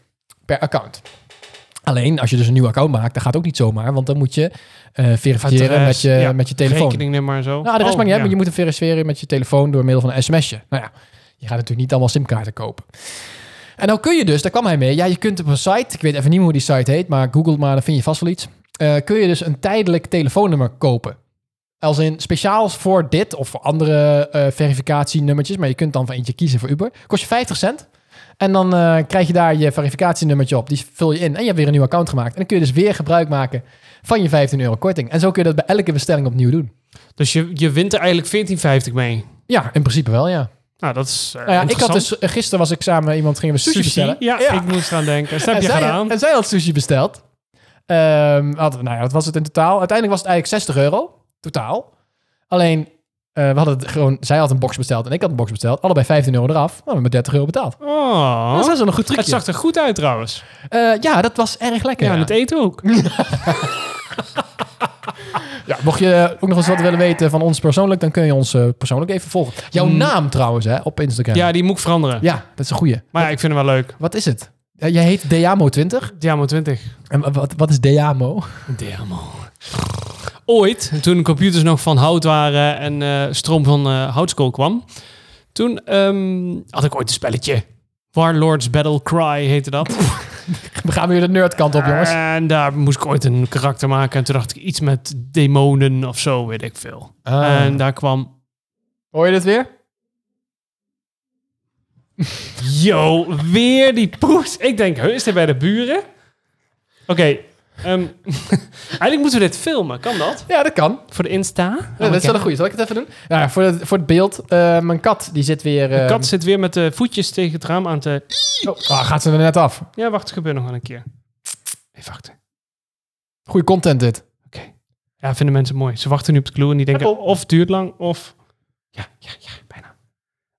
Speaker 1: per account. Alleen, als je dus een nieuw account maakt, dat gaat ook niet zomaar. Want dan moet je eh, verifiëren
Speaker 2: Adres,
Speaker 1: met je,
Speaker 2: ja,
Speaker 1: met je telefoon.
Speaker 2: Rekeningnummer en zo.
Speaker 1: Nou, de rest
Speaker 2: Oh,
Speaker 1: maakt niet uit,
Speaker 2: ja.
Speaker 1: maar je moet hem verifiëren met je telefoon door middel van een sms'je. Nou ja, je gaat natuurlijk niet allemaal simkaarten kopen. En dan kun je dus, daar kwam hij mee, ja, je kunt op een site, ik weet even niet meer hoe die site heet, maar google maar, dan vind je vast wel iets. Eh, kun je dus een tijdelijk telefoonnummer kopen. Als in speciaal voor dit of voor andere eh, verificatienummertjes, maar je kunt dan van eentje kiezen voor Uber. Kost je 50 cent. En dan eh, krijg je daar je verificatienummertje op. Die vul je in. En je hebt weer een nieuw account gemaakt. En dan kun je dus weer gebruik maken van je 15 euro korting. En zo kun je dat bij elke bestelling opnieuw doen.
Speaker 2: Dus je, je wint er eigenlijk 14,50 mee.
Speaker 1: Ja, in principe wel, ja.
Speaker 2: Nou, dat is eh,
Speaker 1: Nou ja, ik had
Speaker 2: interessant.
Speaker 1: dus, eh, gisteren was ik samen met iemand, gingen we sushi, bestellen.
Speaker 2: Ja, ik moest aan denken. Dus
Speaker 1: en,
Speaker 2: dat heb je
Speaker 1: zij,
Speaker 2: gedaan.
Speaker 1: en zij had sushi besteld. Ehm hadden, nou ja, wat was het in totaal? Uiteindelijk was het eigenlijk 60 euro, totaal. Alleen, eh, we hadden het gewoon, zij had een box besteld en ik had een box besteld. Allebei 15 euro eraf, nou, we hebben 30 euro betaald.
Speaker 2: Oh.
Speaker 1: Dat was wel een goed
Speaker 2: het
Speaker 1: trucje.
Speaker 2: zag er goed uit trouwens.
Speaker 1: Eh, ja, dat was erg lekker.
Speaker 2: Ja,
Speaker 1: Ja,
Speaker 2: en het eten ook.
Speaker 1: Ja, mocht je ook nog eens wat willen weten van ons persoonlijk, dan kun je ons eh, persoonlijk even volgen. Jouw
Speaker 2: Mm.
Speaker 1: naam trouwens, hè, op Instagram.
Speaker 2: Ja, die moet ik veranderen.
Speaker 1: Ja, dat is een goeie.
Speaker 2: Maar ja, ik vind hem wel leuk.
Speaker 1: Wat is het? Eh, jij heet Deamo20.
Speaker 2: Diamo 20.
Speaker 1: En wa- wat, wat is Deamo?
Speaker 2: Diamo. Ooit, toen computers nog van hout waren en eh, stroom van eh, houtskool kwam, toen ehm, had ik ooit een spelletje. Warlords Battle Cry heette dat.
Speaker 1: We gaan weer de nerdkant op, jongens.
Speaker 2: En daar moest ik ooit een karakter maken. En toen dacht ik iets met demonen of zo, weet ik veel.
Speaker 1: Ah.
Speaker 2: En daar kwam...
Speaker 1: Hoor je dit weer?
Speaker 2: Yo, weer die poes. Ik denk, huh, is dit bij de buren? Oké. ehm, eigenlijk moeten we dit filmen. Kan dat?
Speaker 1: Ja, dat kan.
Speaker 2: Voor de Insta? Oh,
Speaker 1: Ja, dat is wel een goeie. Zal ik het even doen? Nou, ja, voor, het, voor het beeld. eh, mijn kat, die zit weer...
Speaker 2: De
Speaker 1: eh,
Speaker 2: kat zit weer met de voetjes tegen het raam aan te...
Speaker 1: Oh, ah, gaat ze er net af.
Speaker 2: Ja, wacht, het gebeurt nog wel een keer. Even wachten.
Speaker 1: Goeie content dit.
Speaker 2: Oké. Ja, vinden mensen mooi. Ze wachten nu op de clue en die denken
Speaker 1: Apple.
Speaker 2: of het duurt lang of... Ja, ja, ja, bijna.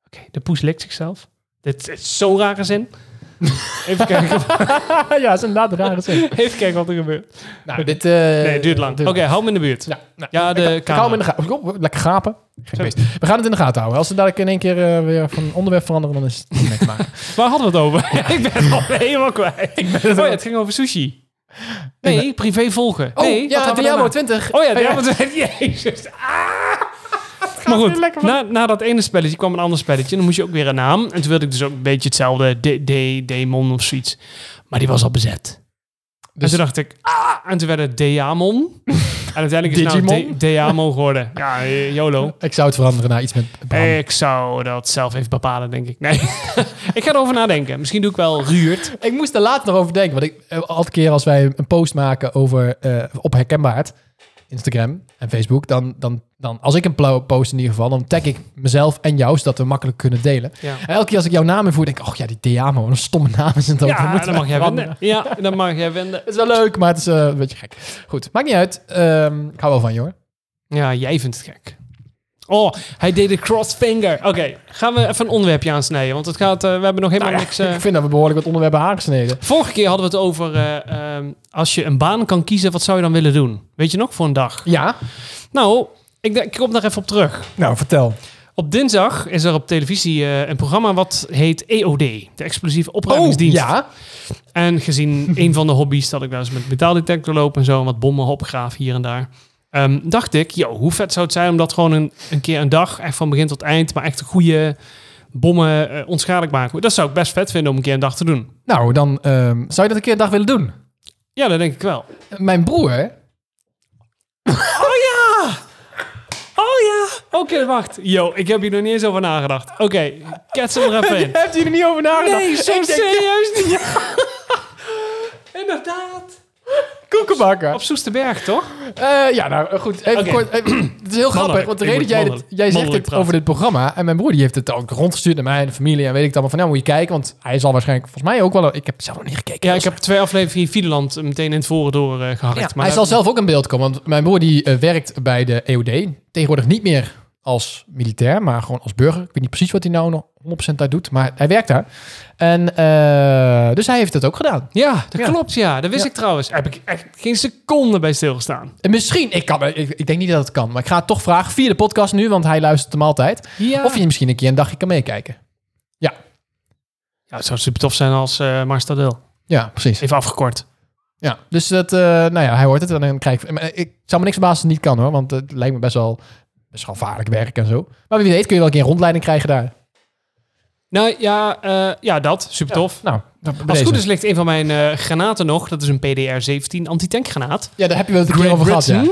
Speaker 2: Oké, de poes likt zichzelf. Dit is zo'n rare zin. Even kijken,
Speaker 1: ja, is inderdaad een rare zin.
Speaker 2: even kijken wat er gebeurt.
Speaker 1: Nou, dit... eh,
Speaker 2: Nee, het duurt lang. Oké, hou hem in de buurt.
Speaker 1: Ja, nou,
Speaker 2: Ja, de
Speaker 1: ik, ik hou hem in de gaten. Oh, lekker gapen. Geen beest. We gaan het in de gaten houden. Als ze dadelijk in één keer eh, weer van onderwerp veranderen, dan is het niet meer te maken.
Speaker 2: Waar hadden we het over? ik ben het al helemaal kwijt. oh ja, het ging over sushi. Nee, privé volgen.
Speaker 1: Oh,
Speaker 2: nee, wat
Speaker 1: ja,
Speaker 2: hadden we daarna?
Speaker 1: Diablo 20.
Speaker 2: Oh ja, die hebben we Jezus. Ah! Maar goed, na, na dat ene spelletje kwam een ander spelletje. Dan moest je ook weer een naam. En toen wilde ik dus ook een beetje hetzelfde. De, de, demon of zoiets. Maar die was al bezet. Dus
Speaker 1: Dus-
Speaker 2: toen dacht ik, ah! En toen werd het Deamon. En uiteindelijk is het nou
Speaker 1: Digimon?
Speaker 2: De- Deamo geworden. Ja, eh, YOLO.
Speaker 1: Ik zou het veranderen naar iets met Bram.
Speaker 2: Ik zou dat zelf even bepalen, denk ik. Nee, ik ga erover nadenken. Misschien doe ik wel Ruurt.
Speaker 1: Ik moest er later nog over denken. Want ik, eh, elke keer als wij een post maken over, eh, op herkenbaarheid, Instagram en Facebook, dan, dan, dan als ik een pla- post in ieder geval, dan tag ik mezelf en jou, zodat we makkelijk kunnen delen.
Speaker 2: Ja.
Speaker 1: En elke keer als ik jouw naam invoer, denk ik, oh ja, die Deamo, wat een stomme naam is het ook. Dat
Speaker 2: Ja,
Speaker 1: moeten
Speaker 2: dan
Speaker 1: we
Speaker 2: mag jij
Speaker 1: veranderen.
Speaker 2: wenden. Ja, dan mag jij wenden.
Speaker 1: Het is wel leuk, maar het is eh, een beetje gek. Goed, maakt niet uit. Ehm, ik hou wel van je hoor.
Speaker 2: Ja, jij vindt het gek. Oh, hij deed de crossfinger. Oké, gaan we even een onderwerpje aansnijden. Want het gaat, eh, we hebben nog helemaal niks... eh,
Speaker 1: Nou Ik vind dat we behoorlijk wat onderwerpen aangesneden.
Speaker 2: Vorige keer hadden we het over... eh, ehm, als je een baan kan kiezen, wat zou je dan willen doen? Weet je nog, voor een dag?
Speaker 1: Ja,
Speaker 2: Nou, ik, denk- ik kom daar even op terug.
Speaker 1: nou vertel.
Speaker 2: Op dinsdag is er op televisie eh, een programma wat heet EOD, de explosieve
Speaker 1: Oh,
Speaker 2: opruimingsdienst.
Speaker 1: ja.
Speaker 2: En gezien een van de hobby's dat ik wel eens met metaaldetector loop en zo, en wat bommen opgraaf hier en daar, ehm, dacht ik, yo, hoe vet zou het zijn om dat gewoon een, een keer een dag, echt van begin tot eind, maar echt goede bommen eh, onschadelijk maken. Dat zou ik best vet vinden om een keer een dag te doen.
Speaker 1: Nou, dan ehm, zou je dat een keer een dag willen doen.
Speaker 2: Ja, dat denk ik wel.
Speaker 1: Mijn broer,
Speaker 2: Oh ja! Oh ja! Oké, wacht. Yo, ik heb hier nog niet eens over nagedacht. Oké, kets hem er even in.
Speaker 1: Hebt u er niet over nagedacht?
Speaker 2: Nee, zo
Speaker 1: Ik denk,
Speaker 2: serieus niet. Inderdaad.
Speaker 1: koekenbakker.
Speaker 2: Op Soesterberg, toch?
Speaker 1: Eh, ja, nou goed. Even
Speaker 2: Oké.
Speaker 1: kort. eh, het is heel grappig, want de
Speaker 2: Ik
Speaker 1: reden dat
Speaker 2: moet
Speaker 1: jij, dit,
Speaker 2: mannelijk-
Speaker 1: jij zegt
Speaker 2: mannelijk
Speaker 1: het
Speaker 2: praten.
Speaker 1: over dit programma... en mijn broer die heeft het ook rondgestuurd naar mij en de familie... en weet ik dan maar van, nou moet je kijken... want hij zal waarschijnlijk, volgens mij ook wel... ik heb zelf nog niet gekeken.
Speaker 2: Ja, ik heb twee afleveringen Videland meteen in het voren door eh, geharkt.
Speaker 1: Ja,
Speaker 2: maar
Speaker 1: hij zal zelf ook in beeld komen, want mijn broer die eh, werkt bij de EOD. Tegenwoordig niet meer als militair, maar gewoon als burger. Ik weet niet precies wat hij nou nog 100% daar doet, maar hij werkt daar. En eh, dus hij heeft het ook gedaan.
Speaker 2: Ja, dat
Speaker 1: Ja.
Speaker 2: klopt, ja. Dat wist
Speaker 1: Ja.
Speaker 2: ik trouwens. Daar heb ik echt geen seconde bij stilgestaan.
Speaker 1: En misschien, ik, kan, ik, ik denk niet dat het kan, maar ik ga het toch vragen via de podcast nu, want hij luistert hem altijd.
Speaker 2: Ja.
Speaker 1: Of je misschien een keer een dagje kan meekijken.
Speaker 2: ja, het zou super tof zijn als eh Mars Tadel.
Speaker 1: Ja, precies.
Speaker 2: Even afgekort.
Speaker 1: Ja, dus dat, eh, nou ja, hij hoort het en dan krijg ik... maar Ik zou me niks verbazen als het niet kan hoor, want het lijkt me best wel best wel gevaarlijk werk en zo. Maar wie weet kun je wel een keer een rondleiding krijgen daar.
Speaker 2: Nou ja, eh, ja dat. Super tof.
Speaker 1: Nou, bij
Speaker 2: Als
Speaker 1: deze.
Speaker 2: het goed is ligt een van mijn eh, granaten nog. Dat is een PDR-17 antitankgranaat.
Speaker 1: Ja, daar heb je wel het een keer over gehad, ja.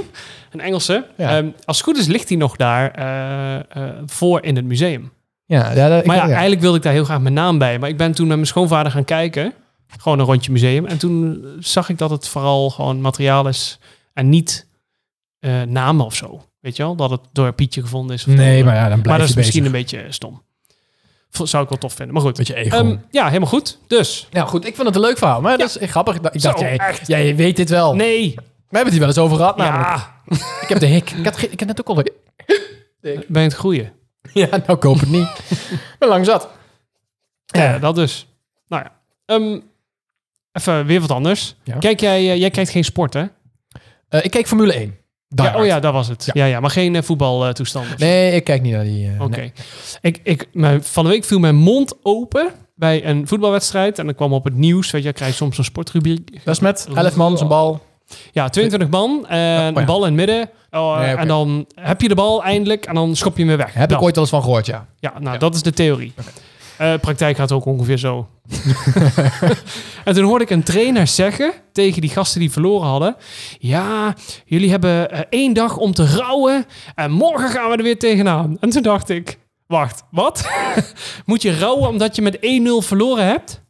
Speaker 2: Een Engelse.
Speaker 1: Ja.
Speaker 2: Ehm, als het goed is ligt die nog daar eh, eh, voor in het museum.
Speaker 1: Ja, ja, dat- ik-
Speaker 2: maar ja,
Speaker 1: ja.
Speaker 2: eigenlijk wilde ik daar heel graag mijn naam bij. Maar ik ben toen met mijn schoonvader gaan kijken. Gewoon een rondje museum. En toen eh, zag ik dat het vooral gewoon materiaal is. En niet eh, namen of zo. Weet je wel? Dat het door Pietje gevonden is. Of
Speaker 1: Nee,
Speaker 2: door-
Speaker 1: maar ja, dan blijf
Speaker 2: Maar dat
Speaker 1: je
Speaker 2: is misschien
Speaker 1: bezig.
Speaker 2: een beetje eh, stom. V- zou ik wel tof vinden. Maar goed.
Speaker 1: Beetje ego.
Speaker 2: Ehm, ja, helemaal goed. Dus.
Speaker 1: nou goed, ik vond het een leuk verhaal, maar dat is echt grappig. Ik dacht,
Speaker 2: Zo,
Speaker 1: jij,
Speaker 2: echt.
Speaker 1: jij weet dit wel.
Speaker 2: Nee.
Speaker 1: We hebben het hier wel eens over gehad, namelijk.
Speaker 2: Ja.
Speaker 1: Ik heb de hik. Ik had, ge- ik had net ook al de hik.
Speaker 2: Ben je het groeien?
Speaker 1: Ja, nou ik hoop het niet. maar lang zat.
Speaker 2: Ja, dat dus. Nou ja. Ehm, even weer wat anders.
Speaker 1: Ja.
Speaker 2: Kijk jij, eh, jij kijkt geen sport, hè?
Speaker 1: Eh, ik keek Formule 1.
Speaker 2: Ja,
Speaker 1: Daar.
Speaker 2: oh ja, dat was het.
Speaker 1: Ja.
Speaker 2: Ja, ja, maar geen eh, voetbaltoestanden.
Speaker 1: Nee, ik kijk niet naar die... eh,
Speaker 2: Oké.
Speaker 1: nee.
Speaker 2: Ik, ik, mijn, van de week viel mijn mond open bij een voetbalwedstrijd. En dan kwam op het nieuws, weet je, krijg je soms een sportrubriek.
Speaker 1: Dat is met 11 man, zijn bal.
Speaker 2: Ja, 22 man, en
Speaker 1: Oh, ja.
Speaker 2: een bal in het midden. Oh,
Speaker 1: Nee, oké.
Speaker 2: En dan heb je de bal eindelijk en dan schop je hem weer weg. Nou.
Speaker 1: Heb
Speaker 2: Dat.
Speaker 1: ik ooit wel eens van gehoord, ja.
Speaker 2: Ja, nou, dat is de theorie. Eh, praktijk gaat ook ongeveer zo. en toen hoorde ik een trainer zeggen tegen die gasten die verloren hadden: Ja, jullie hebben eh, één dag om te rouwen en morgen gaan we er weer tegenaan. En toen dacht ik: Wacht, wat? Moet je rouwen omdat je met 1-0 verloren hebt?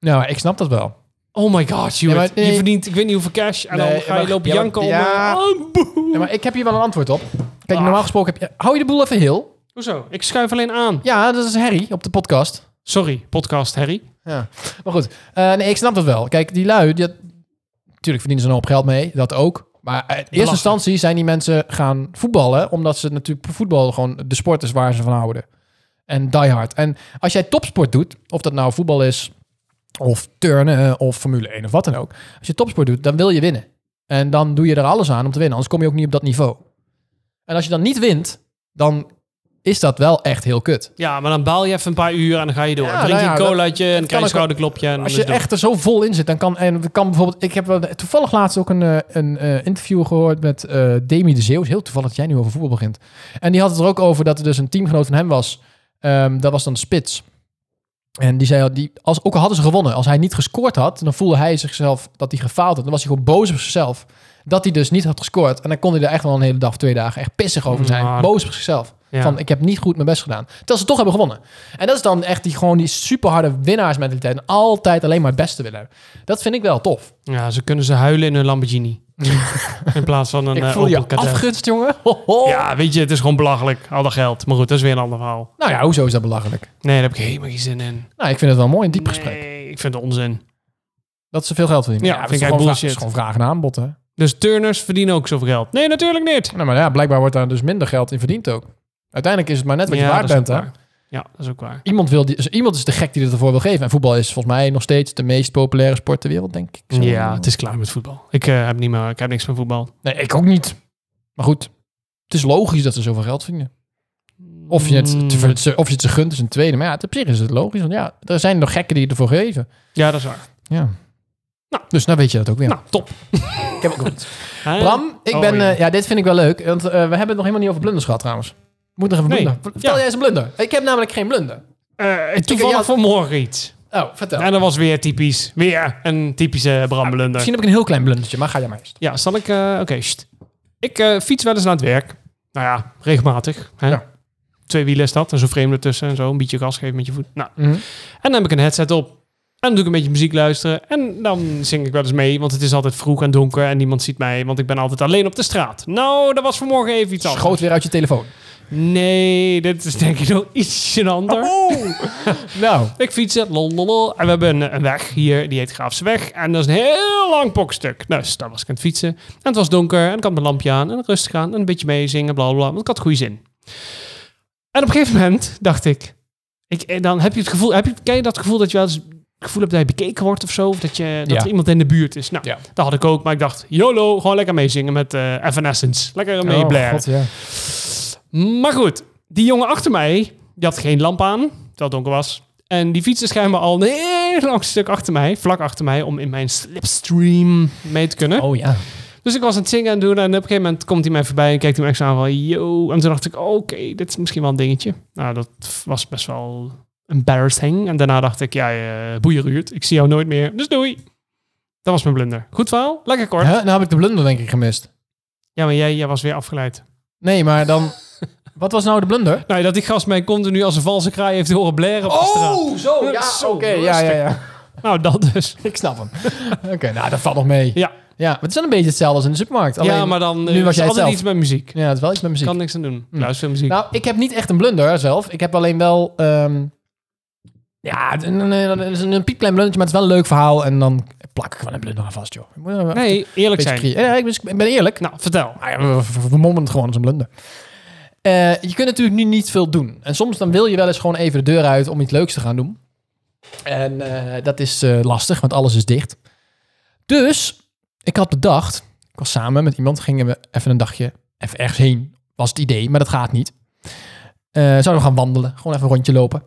Speaker 1: Nou, ik snap dat wel.
Speaker 2: Oh my god,
Speaker 1: Ja,
Speaker 2: Stuart.
Speaker 1: maar nee.
Speaker 2: Je verdient ik weet niet hoeveel cash en
Speaker 1: Nee,
Speaker 2: dan ga
Speaker 1: maar-
Speaker 2: je lopen
Speaker 1: ja, maar-
Speaker 2: janken om...
Speaker 1: ja.
Speaker 2: Oh, boe.
Speaker 1: Ja, maar ik heb hier wel een antwoord op. Kijk,
Speaker 2: Ah.
Speaker 1: normaal gesproken heb je... Hou je de boel even heel?
Speaker 2: Hoezo? Ik schuif alleen aan.
Speaker 1: Ja, dat is Harry op de podcast.
Speaker 2: Sorry, podcast Harry.
Speaker 1: Ja, maar goed. Eh, nee, ik snap dat wel. Kijk, die lui, die, natuurlijk verdienen ze een hoop geld mee, dat ook. Maar in eerste
Speaker 2: Belachelijk.
Speaker 1: instantie zijn die mensen gaan voetballen, omdat ze natuurlijk voetbal gewoon de sport is waar ze van houden. En die hard. En als jij topsport doet, of dat nou voetbal is, of turnen, eh, of Formule 1 of wat dan ook. Als je topsport doet, dan wil je winnen. En dan doe je er alles aan om te winnen, anders kom je ook niet op dat niveau. En als je dan niet wint, dan is dat wel echt heel kut.
Speaker 2: Ja, maar dan baal je even een paar uur en dan ga je door.
Speaker 1: Ja,
Speaker 2: Dan drink je
Speaker 1: nou ja,
Speaker 2: een
Speaker 1: dat-
Speaker 2: colaatje en dan
Speaker 1: kan
Speaker 2: krijg je
Speaker 1: ook-
Speaker 2: een schouderklopje. En dan
Speaker 1: Als
Speaker 2: is
Speaker 1: je
Speaker 2: het door.
Speaker 1: echt er zo vol in zit, dan kan, en dan kan bijvoorbeeld... Ik heb wel- toevallig laatst ook een, eh, een eh, interview gehoord met eh, Demi de Zeeuws. Heel toevallig dat jij nu over voetbal begint. En die had het er ook over dat er dus een teamgenoot van hem was. Ehm, dat was dan de Spits. En die zei, al, die, als, ook al hadden ze gewonnen, als hij niet gescoord had, dan voelde hij zichzelf dat hij gefaald had. Dan was hij gewoon boos op zichzelf dat hij dus niet had gescoord. En dan kon hij er echt wel een hele dag, twee dagen echt pissig over zijn.
Speaker 2: Ja.
Speaker 1: Boos op zichzelf.
Speaker 2: Ja.
Speaker 1: Van, ik heb niet goed mijn best gedaan. Terwijl ze toch hebben gewonnen. En dat is dan echt die, gewoon die superharde winnaarsmentaliteit. En altijd alleen maar het beste willen. hebben. Dat vind ik wel tof.
Speaker 2: Ja, ze kunnen ze huilen in een Lamborghini. in plaats van een
Speaker 1: ik
Speaker 2: eh,
Speaker 1: voel je
Speaker 2: Opel Kadett.
Speaker 1: afgunst, jongen. Ho, ho.
Speaker 2: Ja, weet je, het is gewoon belachelijk. Al dat geld. Maar goed, dat is weer een ander verhaal.
Speaker 1: Nou ja, hoezo is dat belachelijk?
Speaker 2: Nee, daar heb ik helemaal geen zin in.
Speaker 1: Nou, ik vind het wel mooi, een diep gesprek.
Speaker 2: Nee, ik vind het onzin.
Speaker 1: Dat ze veel geld verdienen.
Speaker 2: Ja,
Speaker 1: dat
Speaker 2: vind
Speaker 1: is
Speaker 2: ik
Speaker 1: gewoon vraag-
Speaker 2: bullshit.
Speaker 1: is gewoon vraag en aanbod, hè.
Speaker 2: Dus turners verdienen ook zoveel geld. Nee, natuurlijk niet.
Speaker 1: Nou, maar ja, blijkbaar wordt daar dus minder geld in verdiend ook. Uiteindelijk is het maar net wat je
Speaker 2: ja,
Speaker 1: waard
Speaker 2: dat is ook
Speaker 1: bent, hè.
Speaker 2: waar. Ja, dat is ook waar.
Speaker 1: Iemand, wil die, dus iemand is de gek die dit ervoor wil geven. En voetbal is volgens mij nog steeds de meest populaire sport ter wereld, denk ik. Zo.
Speaker 2: Ja, het is klaar met voetbal. Ik, eh, heb, niet meer, ik heb niks met voetbal.
Speaker 1: Nee, ik ook niet. Maar goed, het is logisch dat ze zoveel geld vinden. Of je het, te
Speaker 2: Mm,
Speaker 1: ver- of je het ze gunt is een tweede. Maar ja, op zich is het logisch. Want ja, er zijn nog gekken die het ervoor geven.
Speaker 2: Ja, dat is waar.
Speaker 1: Ja.
Speaker 2: Nou.
Speaker 1: dus nou weet je dat ook weer.
Speaker 2: Nou, top.
Speaker 1: ik heb ook goed.
Speaker 2: Hè?
Speaker 1: Bram, ik
Speaker 2: Oh,
Speaker 1: ben...
Speaker 2: ja.
Speaker 1: eh, ja, dit vind ik wel leuk. Want eh, we hebben het nog helemaal niet over blunders gehad trouwens. Moet nog even
Speaker 2: Nee.
Speaker 1: blunder. Vertel
Speaker 2: Ja.
Speaker 1: jij eens een blunder. Ik heb namelijk geen blunder.
Speaker 2: Eh, toevallig
Speaker 1: ja.
Speaker 2: vanmorgen iets.
Speaker 1: Oh, vertel.
Speaker 2: En dat was weer typisch. Weer een typische Bram Blunder.
Speaker 1: Misschien heb ik een heel klein blundertje, maar ga jij maar eerst.
Speaker 2: Ja, zal ik... eh, Oké, sst. Ik eh, fiets wel eens naar het werk. Nou ja, regelmatig. Hè?
Speaker 1: Ja.
Speaker 2: Twee wielen is dat. En zo'n frame ertussen en zo. Een beetje gas geven met je voet. Nou,
Speaker 1: Mhm.
Speaker 2: en dan heb ik een headset op. En dan doe ik een beetje muziek luisteren. En dan zing ik wel eens mee. Want het is altijd vroeg en donker. En niemand ziet mij. Want ik ben altijd alleen op de straat. Nou, dat was vanmorgen even iets anders.
Speaker 1: Schoot weer uit je telefoon.
Speaker 2: Nee, dit is denk ik nog iets gênanter.
Speaker 1: Nou,
Speaker 2: Ik fiets het, lol, lol, lol. En we hebben een, een weg hier, die heet Graafseweg. En dat is een heel lang pokstuk. Nou, dus daar was ik aan het fietsen. En het was donker en ik had mijn lampje aan. En rustig aan en een beetje meezingen, bla, bla, bla. Want ik had goede zin. En op een gegeven moment dacht ik... ik eh, dan heb je het gevoel... Heb je, ken je dat gevoel dat je wel eens het gevoel hebt dat je bekeken wordt of zo? Of dat, je, dat
Speaker 1: Ja.
Speaker 2: er iemand in de buurt is? Nou,
Speaker 1: Ja.
Speaker 2: dat had ik ook. Maar ik dacht, YOLO, gewoon lekker meezingen met eh Evanescence.
Speaker 1: Oh,
Speaker 2: Lekker mee blaren.
Speaker 1: ja.
Speaker 2: Maar goed, die jongen achter mij, die had geen lamp aan, terwijl het donker was. En die fietste schijnbaar al een heel lang stuk achter mij, vlak achter mij, om in mijn slipstream mee te kunnen.
Speaker 1: Oh ja.
Speaker 2: Dus ik was aan het zingen en doen en op een gegeven moment komt hij mij voorbij en kijkt hij me echt zo aan van, yo. En toen dacht ik, oké, dit is misschien wel een dingetje. Nou, dat was best wel embarrassing. En daarna dacht ik, ja, eh boeien Ruud, ik zie jou nooit meer, dus doei. Dat was mijn blunder. Goed verhaal, lekker kort.
Speaker 1: Huh? Nou heb ik de blunder denk ik gemist.
Speaker 2: Ja, maar jij, jij was weer afgeleid.
Speaker 1: Nee, maar dan... Wat was nou de blunder?
Speaker 2: Nou, dat die gast mij continu als een valse kraai heeft horen blaren op de straat.
Speaker 1: zo.
Speaker 2: Oh, ja,
Speaker 1: oké.
Speaker 2: rustig.
Speaker 1: ja, ja, ja.
Speaker 2: Nou, dat dus.
Speaker 1: Ik snap hem. oké, nou, dat valt nog mee.
Speaker 2: Ja,
Speaker 1: Ja, maar het is wel een beetje hetzelfde als in de supermarkt. Alleen,
Speaker 2: ja maar dan
Speaker 1: nu
Speaker 2: nu
Speaker 1: was
Speaker 2: was
Speaker 1: jij het
Speaker 2: altijd
Speaker 1: zelf.
Speaker 2: iets met muziek.
Speaker 1: Ja, het is wel iets met muziek.
Speaker 2: Kan niks aan doen. Luister veel muziek.
Speaker 1: Nou, ik heb niet echt een blunder zelf. Ik heb alleen wel... ehm, ja, een, een, een, een, een piepklein blundertje, maar het is wel een leuk verhaal. En dan plak ik wel een blunder aan vast, joh. Ik moet er wel een
Speaker 2: nee, eerlijk
Speaker 1: beetje
Speaker 2: zijn.
Speaker 1: creë- Ja, ik ben- ik ben eerlijk.
Speaker 2: Nou, vertel.
Speaker 1: Nou ja, we- we- we vermommen het gewoon als een blunder. Eh, je kunt natuurlijk nu niet veel doen. En soms dan wil je wel eens gewoon even de deur uit om iets leuks te gaan doen. En eh, dat is eh, lastig, want alles is dicht. Dus ik had bedacht, ik was samen met iemand, gingen we even een dagje even ergens heen. Was het idee, maar dat gaat niet. Eh, zouden we gaan wandelen, gewoon even een rondje lopen.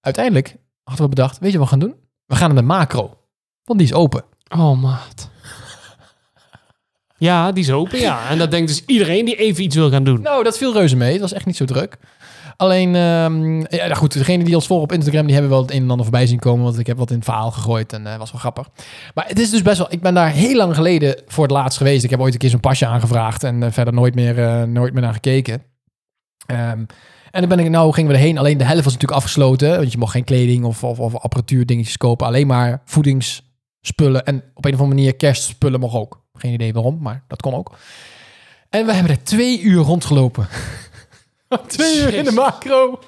Speaker 1: Uiteindelijk hadden we bedacht, weet je wat we gaan doen? We gaan naar de macro, want die is open.
Speaker 2: Oh, maat. Ja, die is open, ja. En dat denkt dus iedereen die even iets wil gaan doen.
Speaker 1: Nou, dat viel reuze mee. Het was echt niet zo druk. Alleen, ehm, ja, nou goed, degene die ons volgen op Instagram, die hebben wel het een en ander voorbij zien komen. Want ik heb wat in het verhaal gegooid en eh, was wel grappig. Maar het is dus best wel, ik ben daar heel lang geleden voor het laatst geweest. Ik heb ooit een keer zo'n pasje aangevraagd en eh, verder nooit meer, eh, nooit meer naar gekeken. Ehm, en dan ben ik, nou gingen we erheen. Alleen de helft was natuurlijk afgesloten. Want je mocht geen kleding of, of, of apparatuur dingetjes kopen. Alleen maar voedingsspullen. En op een of andere manier kerstspullen mocht ook. Geen idee waarom, maar dat kon ook. En we hebben er twee uur rondgelopen. twee uur in de
Speaker 2: Jezus.
Speaker 1: macro.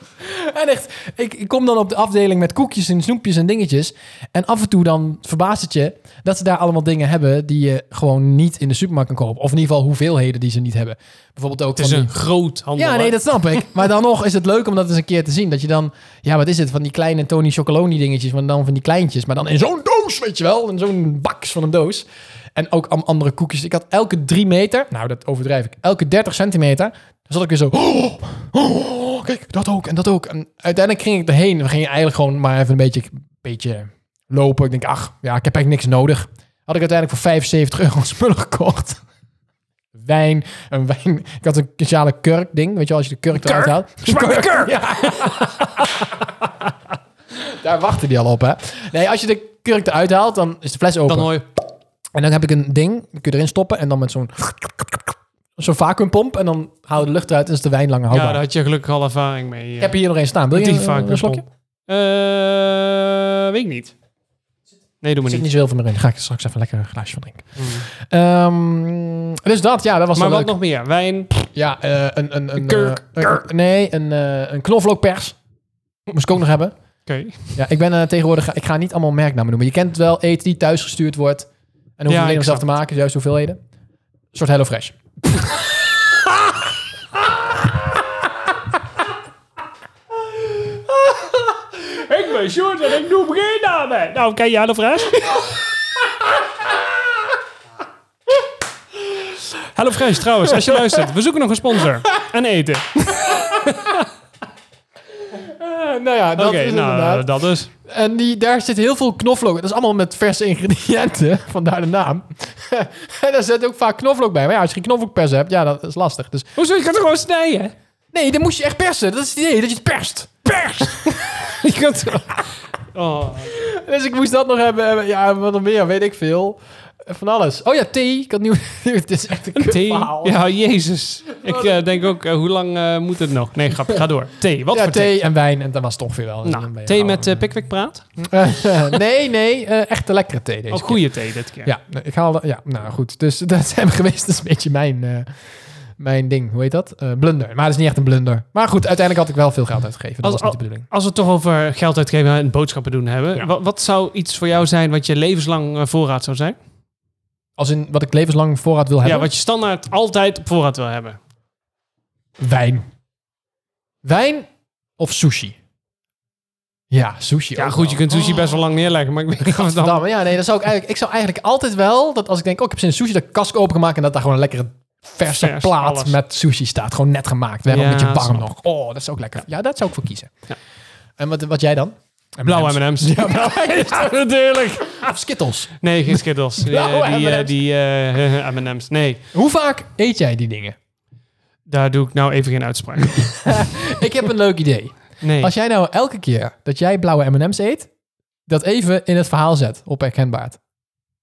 Speaker 1: En echt, ik, ik kom dan op de afdeling met koekjes en snoepjes en dingetjes. En af en toe dan verbaast het je dat ze daar allemaal dingen hebben die je gewoon niet in de supermarkt kan kopen. Of in ieder geval hoeveelheden die ze niet hebben. Bijvoorbeeld ook
Speaker 2: het is
Speaker 1: van die-
Speaker 2: een groot handel.
Speaker 1: ja,
Speaker 2: hè?
Speaker 1: nee, dat snap ik. Maar dan nog is het leuk om dat eens een keer te zien. Dat je dan, ja, wat is het? Van die kleine Tony Chocoloni dingetjes, maar dan van die kleintjes. Maar dan in zo'n doos, weet je wel. In zo'n baks van een doos. En ook am- andere koekjes. Ik had elke drie meter, nou dat overdrijf ik, elke 30 centimeter. Dan zat ik weer zo, oh, oh, kijk, dat ook en dat ook. En uiteindelijk ging ik erheen. We gingen eigenlijk gewoon maar even een beetje, beetje lopen. Ik denk, ach, ja, ik heb eigenlijk niks nodig. Had ik uiteindelijk voor 75 euro spullen gekocht wijn, een wijn. Ik had een speciale kurk ding, weet je wel, als je de kurk eruit
Speaker 2: Kurk?
Speaker 1: haalt.
Speaker 2: Smaak naar kurk!
Speaker 1: Ja. Daar wachten die al op, hè? Nee, als je de kurk eruit haalt, dan is de fles open.
Speaker 2: Dan hoor je...
Speaker 1: En dan heb ik een ding, die kun je erin stoppen en dan met zo'n zo'n vacuumpomp en dan haal je de lucht eruit en is de wijn langer
Speaker 2: Ja,
Speaker 1: houdbaar.
Speaker 2: daar had je gelukkig al ervaring mee. eh.
Speaker 1: Ik heb hier nog één staan. Wil je
Speaker 2: Die
Speaker 1: een,
Speaker 2: vacuumpomp.
Speaker 1: een slokje? Er
Speaker 2: Eh, weet ik niet. Nee, doe maar
Speaker 1: zit
Speaker 2: niet.
Speaker 1: niet zoveel meer in. Ga ik er straks even lekker een glaasje van drinken.
Speaker 2: Mm.
Speaker 1: Ehm, dus dat, ja, dat was
Speaker 2: Maar
Speaker 1: wel
Speaker 2: wat
Speaker 1: leuk.
Speaker 2: nog meer? Wijn.
Speaker 1: Ja, eh, een... Een, een,
Speaker 2: kurk.
Speaker 1: eh, een- nee, een, eh, een knoflookpers. Moest ik ook nog hebben.
Speaker 2: Oké.
Speaker 1: Ja, ik ben eh, tegenwoordig... Ik ga niet allemaal merknamen noemen. Je kent het wel eten die thuis gestuurd wordt. En hoef je
Speaker 2: Ja,
Speaker 1: alleen
Speaker 2: ik
Speaker 1: om zelf te maken. Juist hoeveelheden. Een soort HelloFresh.
Speaker 2: Ik ben Sjoerd en ik noem geen namen. Nou, ken je HelloFresh? HelloFresh, trouwens, als je luistert. We zoeken nog een sponsor. En eten.
Speaker 1: nou ja, dat
Speaker 2: Oké,
Speaker 1: is
Speaker 2: Eh, nou,
Speaker 1: inderdaad.
Speaker 2: dat is...
Speaker 1: En die, daar zit heel veel knoflook. Dat is allemaal met verse ingrediënten, vandaar de naam. en daar zit ook vaak knoflook bij. Maar ja, als je geen knoflookpers hebt, ja, dat is lastig. Dus
Speaker 2: Hoezo, je kan het gewoon snijden?
Speaker 1: nee, dan moest je echt persen. Dat is het idee, dat je het perst. Pers!
Speaker 2: Je kunt... Oh,
Speaker 1: dus ik moest dat nog hebben. Ja, wat nog meer, weet ik veel. Van alles. Oh ja, thee. Ik had nieuw... het is echt een, kut
Speaker 2: thee.
Speaker 1: verhaal.
Speaker 2: Ja, jezus. Ik eh, denk ook, eh, hoe lang eh, moet het nog? Nee, grap, ga door. Thee, wat
Speaker 1: Ja,
Speaker 2: voor thee?
Speaker 1: thee en wijn. En dat was het ongeveer wel. Dus dan ben
Speaker 2: Nou,
Speaker 1: je
Speaker 2: thee
Speaker 1: gauw-
Speaker 2: met eh Pickwick praat?
Speaker 1: nee, nee. eh echt een lekkere thee deze
Speaker 2: Oh, goede thee dit keer.
Speaker 1: Ja, ik haalde. Ja, nou goed. Dus dat zijn we geweest. Dat is een beetje mijn, eh, mijn ding. Hoe heet dat? Eh, blunder. Maar dat is niet echt een blunder. Maar goed, uiteindelijk had ik wel veel geld uitgegeven. Dat
Speaker 2: Als-
Speaker 1: was niet de bedoeling.
Speaker 2: Als we het toch over geld uitgeven en boodschappen doen hebben. wa- Wat, zou iets voor jou zijn wat je levenslang eh, voorraad zou zijn?
Speaker 1: Als in wat ik levenslang voorraad wil hebben.
Speaker 2: Ja, wat je standaard altijd op voorraad wil hebben.
Speaker 1: Wijn. Wijn of sushi? Ja, sushi.
Speaker 2: Ja,
Speaker 1: ook
Speaker 2: goed,
Speaker 1: wel.
Speaker 2: je kunt sushi best wel lang neerleggen, maar ik weet niet of het dan...
Speaker 1: Gadverdamme. Ja, nee, dat zou ik eigenlijk. Ik zou eigenlijk altijd wel dat als ik denk, oh, ik heb zin in sushi, dat ik kast open maken en dat daar gewoon een lekkere verse
Speaker 2: Vers,
Speaker 1: plaat
Speaker 2: alles.
Speaker 1: met sushi staat. Gewoon net gemaakt. We hebben
Speaker 2: Ja,
Speaker 1: een beetje warm
Speaker 2: snap
Speaker 1: nog. Oh, dat is ook lekker. Ja, dat zou ik voor kiezen. En wat, wat jij dan?
Speaker 2: Blauwe M&M's. Ja, natuurlijk.
Speaker 1: Of Ah, Skittles.
Speaker 2: Nee, geen Skittles. Die, eh,
Speaker 1: Blauwe
Speaker 2: die, eh,
Speaker 1: M&M's.
Speaker 2: die eh, M&M's. Nee,
Speaker 1: Hoe vaak eet jij die dingen?
Speaker 2: daar doe ik nou even geen uitspraak.
Speaker 1: Ik heb een leuk idee.
Speaker 2: Nee.
Speaker 1: Als jij nou elke keer dat jij blauwe M&M's eet, dat even in het verhaal zet op herkenbaar.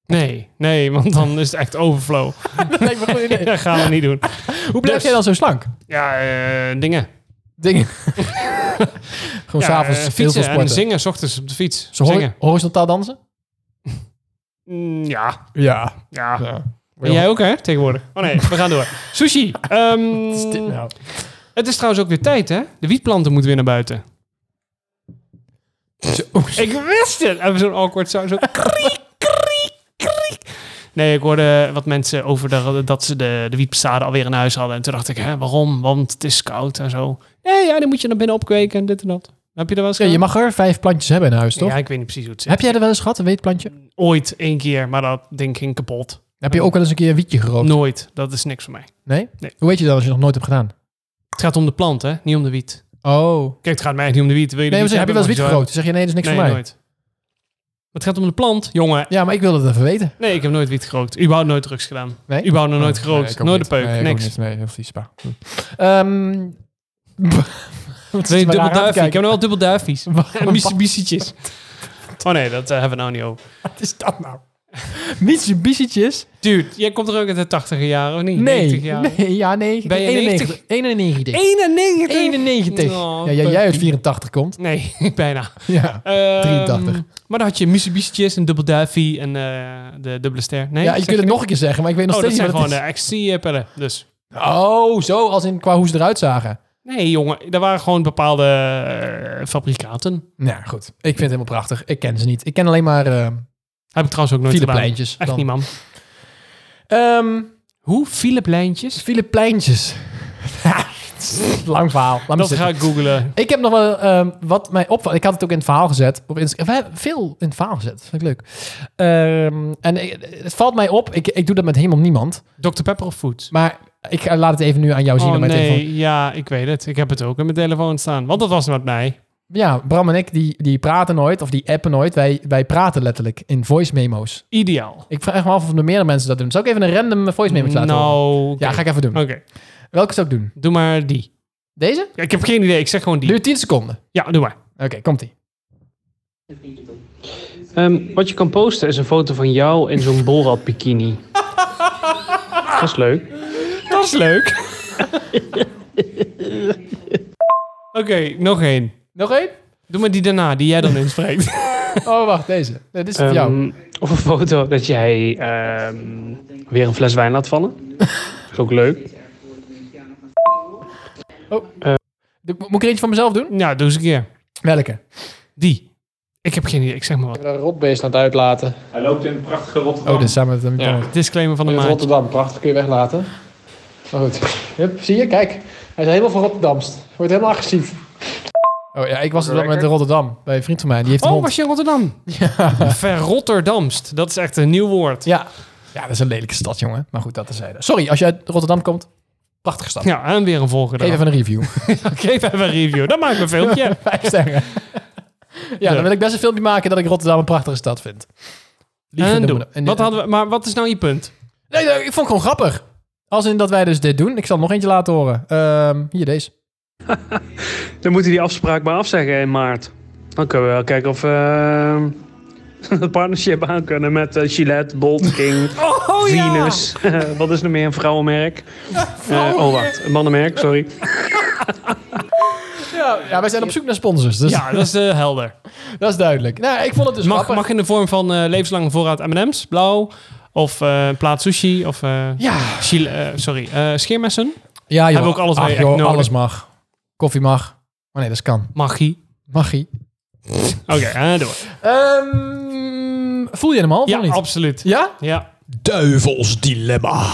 Speaker 2: Nee, nee, want dan is het echt overflow.
Speaker 1: Dat lijkt me een goed idee.
Speaker 2: Dat gaan we niet doen.
Speaker 1: Hoe blijf
Speaker 2: Dus-
Speaker 1: jij dan zo slank?
Speaker 2: Ja, eh, dingen.
Speaker 1: Dingen. Gewoon
Speaker 2: Ja,
Speaker 1: s'avonds
Speaker 2: eh,
Speaker 1: veel
Speaker 2: fietsen en
Speaker 1: sporten.
Speaker 2: zingen, s ochtends op de fiets.
Speaker 1: Zo hor-
Speaker 2: zingen.
Speaker 1: horizontaal dansen?
Speaker 2: Mm, ja,
Speaker 1: Ja.
Speaker 2: ja.
Speaker 1: Wil
Speaker 2: En jij ook, hè, tegenwoordig? Oh nee, we gaan door. Sushi. Ehm,
Speaker 1: Wat is dit nou?
Speaker 2: Het is trouwens ook weer tijd, hè? De wietplanten moeten weer naar buiten. Ik wist het! En zo'n awkward sound, zo kriek, kriek, kriek. Nee, ik hoorde wat mensen over de- dat ze de, de wietpassade alweer in huis hadden. En toen dacht ik, hè, waarom? Want het is koud en zo. Nee, ja, dan moet je naar binnen opkweken en dit en dat. Heb je er wel eens
Speaker 1: Ja, je
Speaker 2: gedaan?
Speaker 1: mag er vijf plantjes hebben in huis, toch?
Speaker 2: Ja, ik weet niet precies hoe het zit.
Speaker 1: Heb jij er wel eens gehad, een weetplantje?
Speaker 2: Ooit één keer, maar dat ding ging kapot.
Speaker 1: Heb je ook wel eens een keer een wietje gerookt?
Speaker 2: Nooit. Dat is niks voor mij.
Speaker 1: Nee?
Speaker 2: Nee.
Speaker 1: Hoe weet je dat als je nog nooit hebt gedaan?
Speaker 2: Het gaat om de plant, hè? Niet om de wiet.
Speaker 1: Oh.
Speaker 2: Kijk, het gaat mij echt niet om de wiet. Wil je de
Speaker 1: Nee, maar zeg, heb
Speaker 2: wiet
Speaker 1: je wel eens
Speaker 2: hebben,
Speaker 1: wiet
Speaker 2: mag zo
Speaker 1: gerookt? Zeg je nee, dat is niks
Speaker 2: hebben.
Speaker 1: voor mij.
Speaker 2: Nee, nooit. Het gaat om de plant, jongen.
Speaker 1: Ja, maar ik wilde het even weten.
Speaker 2: Nee, ik heb nooit wiet gerookt. Überhaupt nooit drugs gedaan.
Speaker 1: Nee?
Speaker 2: Überhaupt nog nooit
Speaker 1: Oh,
Speaker 2: gerookt.
Speaker 1: nee, ik ook
Speaker 2: nooit
Speaker 1: niet.
Speaker 2: de peuk.
Speaker 1: Nee, ik ook
Speaker 2: niks. Hm.
Speaker 1: niet. Nee, of die spa. Ehm, Wat zit
Speaker 2: Nee,
Speaker 1: je me raar aan
Speaker 2: dubbel
Speaker 1: te
Speaker 2: duifie. Ik
Speaker 1: kijken?
Speaker 2: heb nog wel dubbel duifies.
Speaker 1: Waarom-
Speaker 2: En Mitsubishi'tjes. Oh nee, dat eh, hebben we nou niet over.
Speaker 1: Wat is dat nou? Mitsubishi'tjes?
Speaker 2: Dude, jij komt er ook uit de 80 jaren, of niet?
Speaker 1: Nee.
Speaker 2: 90 jaren.
Speaker 1: nee. Ja, nee.
Speaker 2: Ben je
Speaker 1: 91? 91.
Speaker 2: 91.
Speaker 1: 91.
Speaker 2: Oh,
Speaker 1: ja, jij- jij uit
Speaker 2: puppie.
Speaker 1: 84 komt.
Speaker 2: Nee, bijna.
Speaker 1: Ja.
Speaker 2: Ehm,
Speaker 1: 83.
Speaker 2: Maar dan had je Mitsubishi'tjes, een dubbel duifie en eh, de dubbele ster. Nee,
Speaker 1: ja, je
Speaker 2: zeg
Speaker 1: kunt het nog een keer zeggen, maar ik weet nog
Speaker 2: Oh, dat
Speaker 1: steeds
Speaker 2: zijn
Speaker 1: niet
Speaker 2: gewoon
Speaker 1: wat
Speaker 2: de
Speaker 1: het
Speaker 2: XC-pillen. Dus.
Speaker 1: is. Oh, zo, als in qua hoe ze eruit zagen.
Speaker 2: Nee, jongen, er waren gewoon bepaalde eh, fabrikaten.
Speaker 1: Nou, goed. Ik vind het helemaal prachtig. Ik ken ze niet. Ik ken alleen maar eh
Speaker 2: Heb ik trouwens ook nooit gedaan.
Speaker 1: Filipijntjes.
Speaker 2: Echt
Speaker 1: dan.
Speaker 2: niet, man.
Speaker 1: Ehm,
Speaker 2: Hoe? Filipijntjes?
Speaker 1: Filipijntjes. Lang verhaal. Laat me
Speaker 2: Dat
Speaker 1: zitten.
Speaker 2: ga ik googlen.
Speaker 1: Ik heb nog wel ehm, wat mij opvalt. Ik had het ook in het verhaal gezet. Op Insta- We hebben veel in het verhaal gezet. Dat vind ik leuk. Ehm, en ik- het valt mij op. Ik, ik doe dat met helemaal niemand.
Speaker 2: Dr. Pepper of Food?
Speaker 1: Maar ik eh, laat het even nu aan jou zien.
Speaker 2: Oh
Speaker 1: op mijn telefoon.
Speaker 2: nee, ja, ik weet het. Ik heb het ook in mijn telefoon staan. Want dat was met mij.
Speaker 1: Ja, Bram en ik die, die praten nooit. Of die appen nooit. Wij, wij praten letterlijk in voice memo's.
Speaker 2: Ideaal.
Speaker 1: Ik vraag me af of er meerdere mensen dat doen. Zal ik even een random voice memo's laten horen?
Speaker 2: Nou, oké.
Speaker 1: Ja, ga ik even doen.
Speaker 2: Oké,
Speaker 1: Welke zou ik doen?
Speaker 2: doe maar die.
Speaker 1: Deze?
Speaker 2: Ja, ik heb geen idee, ik zeg gewoon die.
Speaker 1: Duurt 10 seconden.
Speaker 2: Ja, doe maar.
Speaker 1: Oké, komt ie.
Speaker 4: Ehm, wat je kan posten is een foto van jou in zo'n Borat bikini. Dat is leuk.
Speaker 2: Dat is leuk. Oké, nog één.
Speaker 1: Nog één?
Speaker 2: Doe maar die daarna, die jij dan inspreekt.
Speaker 1: Oh, wacht, deze. Nee, dit is voor jou.
Speaker 4: Ehm, of een foto dat jij ehm, weer een fles wijn laat vallen. Dat is ook leuk.
Speaker 1: Doe- Moet ik er eentje van mezelf doen?
Speaker 2: nou, doe eens een keer.
Speaker 1: Welke?
Speaker 2: Die. Ik heb geen idee, ik zeg maar wat.
Speaker 4: Een rotbeest aan het uitlaten.
Speaker 5: Hij loopt in een prachtige Rotterdam.
Speaker 1: Oh, dit is samen met...
Speaker 4: Ja.
Speaker 2: Disclaimer van de
Speaker 4: In
Speaker 2: maand.
Speaker 4: Rotterdam, prachtig, kun je weglaten. Maar goed, Hup, zie je, kijk. Hij is helemaal van Rotterdamst. Wordt helemaal agressief.
Speaker 1: Oh ja, ik was er dan met Rotterdam. Bij een vriend van mij. Die heeft een
Speaker 2: Oh,
Speaker 1: hond.
Speaker 2: was je in Rotterdam? Ja. Verrotterdamst. Dat is echt een nieuw woord.
Speaker 1: Ja. Ja, dat is een lelijke stad, jongen. Maar goed, dat terzijde. Sorry, als je uit Rotterdam komt. Prachtige stad.
Speaker 2: Ja, en weer een volgende.
Speaker 1: Geef even een review.
Speaker 2: Geef even een review. Dan maak ik een filmpje.
Speaker 1: Vijf sterren. ja, dan wil ik best een filmpje maken dat ik Rotterdam een prachtige stad vind. Liefde
Speaker 2: En
Speaker 1: noemen
Speaker 2: doe.
Speaker 1: we dat. En-
Speaker 2: Wat hadden we, maar wat is nou je punt?
Speaker 1: Nee, nee, ik vond het gewoon grappig. Als in dat wij dus dit doen. Ik zal nog eentje laten horen. Ehm, hier, deze.
Speaker 4: Dan moeten die afspraak maar afzeggen in maart. Dan kunnen we wel kijken of we een partnership aan kunnen met eh, Gillette, Bolt, King,
Speaker 2: Oh
Speaker 4: Venus. Wat is nog meer een vrouwenmerk? Eh, oh, wacht, een mannenmerk, sorry.
Speaker 1: Ja, wij zijn op zoek naar sponsors, dus
Speaker 2: Ja, dat is eh, helder.
Speaker 1: dat is duidelijk. Nou, ik vond het dus
Speaker 2: Mag,
Speaker 1: grappig.
Speaker 2: mag in de vorm van eh, levenslange voorraad M&M's, blauw. Of eh plaat sushi. Of eh,
Speaker 1: Ja,
Speaker 2: chile- eh, sorry, eh, scheermessen.
Speaker 1: ja joh.
Speaker 2: Hebben we ook alles
Speaker 1: Ach,
Speaker 2: mee echt
Speaker 1: joh,
Speaker 2: nodig?
Speaker 1: alles mag. Koffie mag. Maar nee, dat kan.
Speaker 2: Magie.
Speaker 1: Magie.
Speaker 2: Oké, eh, door.
Speaker 1: Ehm, voel je hem al, of
Speaker 2: Ja,
Speaker 1: nog niet?
Speaker 2: absoluut.
Speaker 1: Ja?
Speaker 2: Ja.
Speaker 1: Duivels dilemma.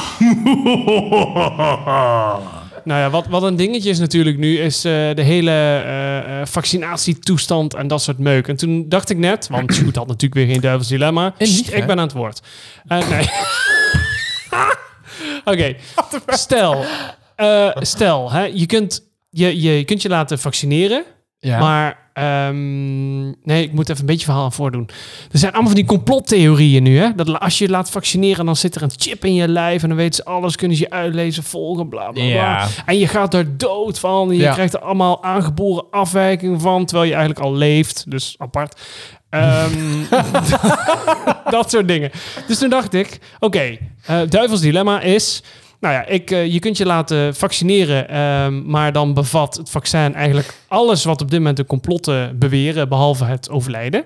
Speaker 2: Nou ja, wat, wat een dingetje is natuurlijk nu, is eh, de hele eh, eh, vaccinatietoestand en dat soort meuk. En toen dacht ik net, want Sjoerd had natuurlijk weer geen duivels dilemma.
Speaker 1: En niet,
Speaker 2: Sst,
Speaker 1: hè?
Speaker 2: ik ben aan het woord. Eh, nee. Oké, stel, eh, stel hè, je, kunt, je, je, je kunt je laten vaccineren,
Speaker 1: Ja.
Speaker 2: maar... ehm, nee, ik moet even een beetje verhaal aan voordoen. Er zijn allemaal van die complottheorieën nu. Hè? Dat la- als je je laat vaccineren, dan zit er een chip in je lijf. En dan weten ze alles, kunnen ze je uitlezen, volgen, bla bla bla.
Speaker 1: Ja.
Speaker 2: En je gaat er dood van. Je
Speaker 1: Ja.
Speaker 2: krijgt er allemaal aangeboren afwijkingen van, terwijl je eigenlijk al leeft. Dus apart. Ehm, dat soort dingen. Dus toen dacht ik, oké, eh, duivels dilemma is... Nou ja, ik, eh, je kunt je laten vaccineren, ehm, maar dan bevat het vaccin eigenlijk alles wat op dit moment de complotten beweren, behalve het overlijden.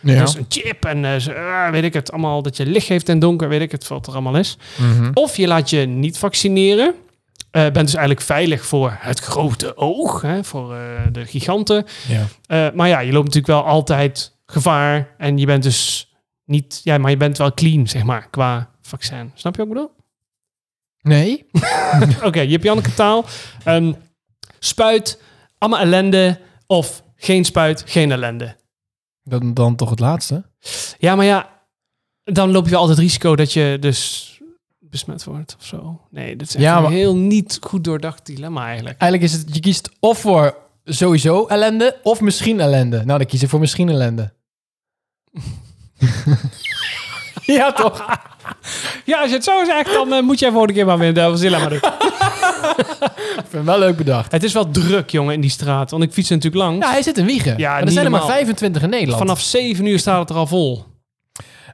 Speaker 1: Ja.
Speaker 2: Dus een chip en eh, zo, ah, weet ik het allemaal, dat je licht heeft en donker, weet ik het wat er allemaal is.
Speaker 1: Mhm.
Speaker 2: Of je laat je niet vaccineren. eh, bent dus eigenlijk veilig voor het grote oog, hè, voor eh, de giganten.
Speaker 1: ja.
Speaker 2: Eh, maar ja, je loopt natuurlijk wel altijd gevaar. En je bent dus niet, ja, maar je bent wel clean, zeg maar, qua vaccin. Snap je wat ik bedoel?
Speaker 1: Nee?
Speaker 2: Oké, je hebt Janneke taal. Ehm, spuit, allemaal ellende. Of geen spuit, geen ellende.
Speaker 1: Dan, dan toch het laatste.
Speaker 2: Ja, maar ja, dan loop je wel altijd risico dat je dus besmet wordt of zo. Nee, dat is echt
Speaker 1: Ja,
Speaker 2: een
Speaker 1: maar-
Speaker 2: heel niet goed doordacht dilemma eigenlijk.
Speaker 1: Eigenlijk is het, je kiest of voor sowieso ellende, of misschien ellende. Nou, dan kies ik voor misschien ellende. ja, toch?
Speaker 2: Ja, als je het zo zegt, dan eh, moet jij volgende keer maar weer een duivels dilemma doen.
Speaker 1: Ik vind hem wel leuk bedacht.
Speaker 2: het is wel druk, jongen, in die straat. Want ik fiets er natuurlijk langs.
Speaker 1: Ja, hij zit in Wiegen.
Speaker 2: Ja,
Speaker 1: maar er
Speaker 2: niet
Speaker 1: zijn er maar
Speaker 2: normaal.
Speaker 1: 25 in Nederland.
Speaker 2: Vanaf 7 uur staat het er al vol.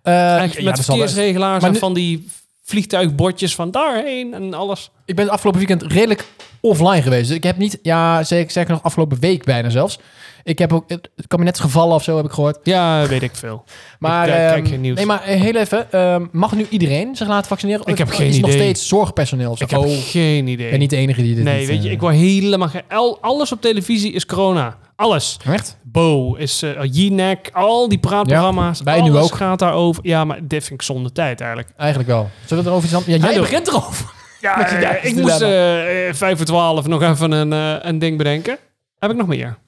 Speaker 1: Eh, ja,
Speaker 2: En met
Speaker 1: dat zal best.
Speaker 2: verkeersregelaars
Speaker 1: Maar
Speaker 2: en
Speaker 1: nu-
Speaker 2: van die vliegtuigbordjes van daarheen en alles.
Speaker 1: Ik ben het afgelopen weekend redelijk offline geweest. Dus ik heb niet, ja, zeker, zeker nog afgelopen week bijna zelfs. Ik heb ook het kabinetsgevallen of zo, heb ik gehoord.
Speaker 2: Ja, weet ik veel.
Speaker 1: Maar,
Speaker 2: Ik, eh, kijk
Speaker 1: ehm,
Speaker 2: geen nieuws.
Speaker 1: Nee, maar eh, heel even. ehm, mag nu iedereen zich laten vaccineren?
Speaker 2: Ik heb
Speaker 1: Of
Speaker 2: geen
Speaker 1: is nog
Speaker 2: idee.
Speaker 1: steeds zorgpersoneel? of zo?
Speaker 2: Ik heb
Speaker 1: Oh,
Speaker 2: geen idee.
Speaker 1: ik ben niet de enige die dit
Speaker 2: nee,
Speaker 1: niet,
Speaker 2: weet je,
Speaker 1: eh,
Speaker 2: ik word helemaal... Ge al- alles op televisie is corona. Alles.
Speaker 1: Echt?
Speaker 2: Bo is eh Jinek, al die praatprogramma's.
Speaker 1: Ja, wij nu
Speaker 2: alles
Speaker 1: ook.
Speaker 2: gaat daarover. Ja, ja, maar dit vind ik zonde tijd eigenlijk.
Speaker 1: Eigenlijk wel. Zullen we erover iets anders... Ja, jij
Speaker 2: doe.
Speaker 1: begint erover.
Speaker 2: Ja,
Speaker 1: eh, dat is
Speaker 2: ik
Speaker 1: het
Speaker 2: moest
Speaker 1: dilemma.
Speaker 2: eh, eh, vijf voor twaalf nog even een, eh, een ding bedenken. Heb ik nog meer?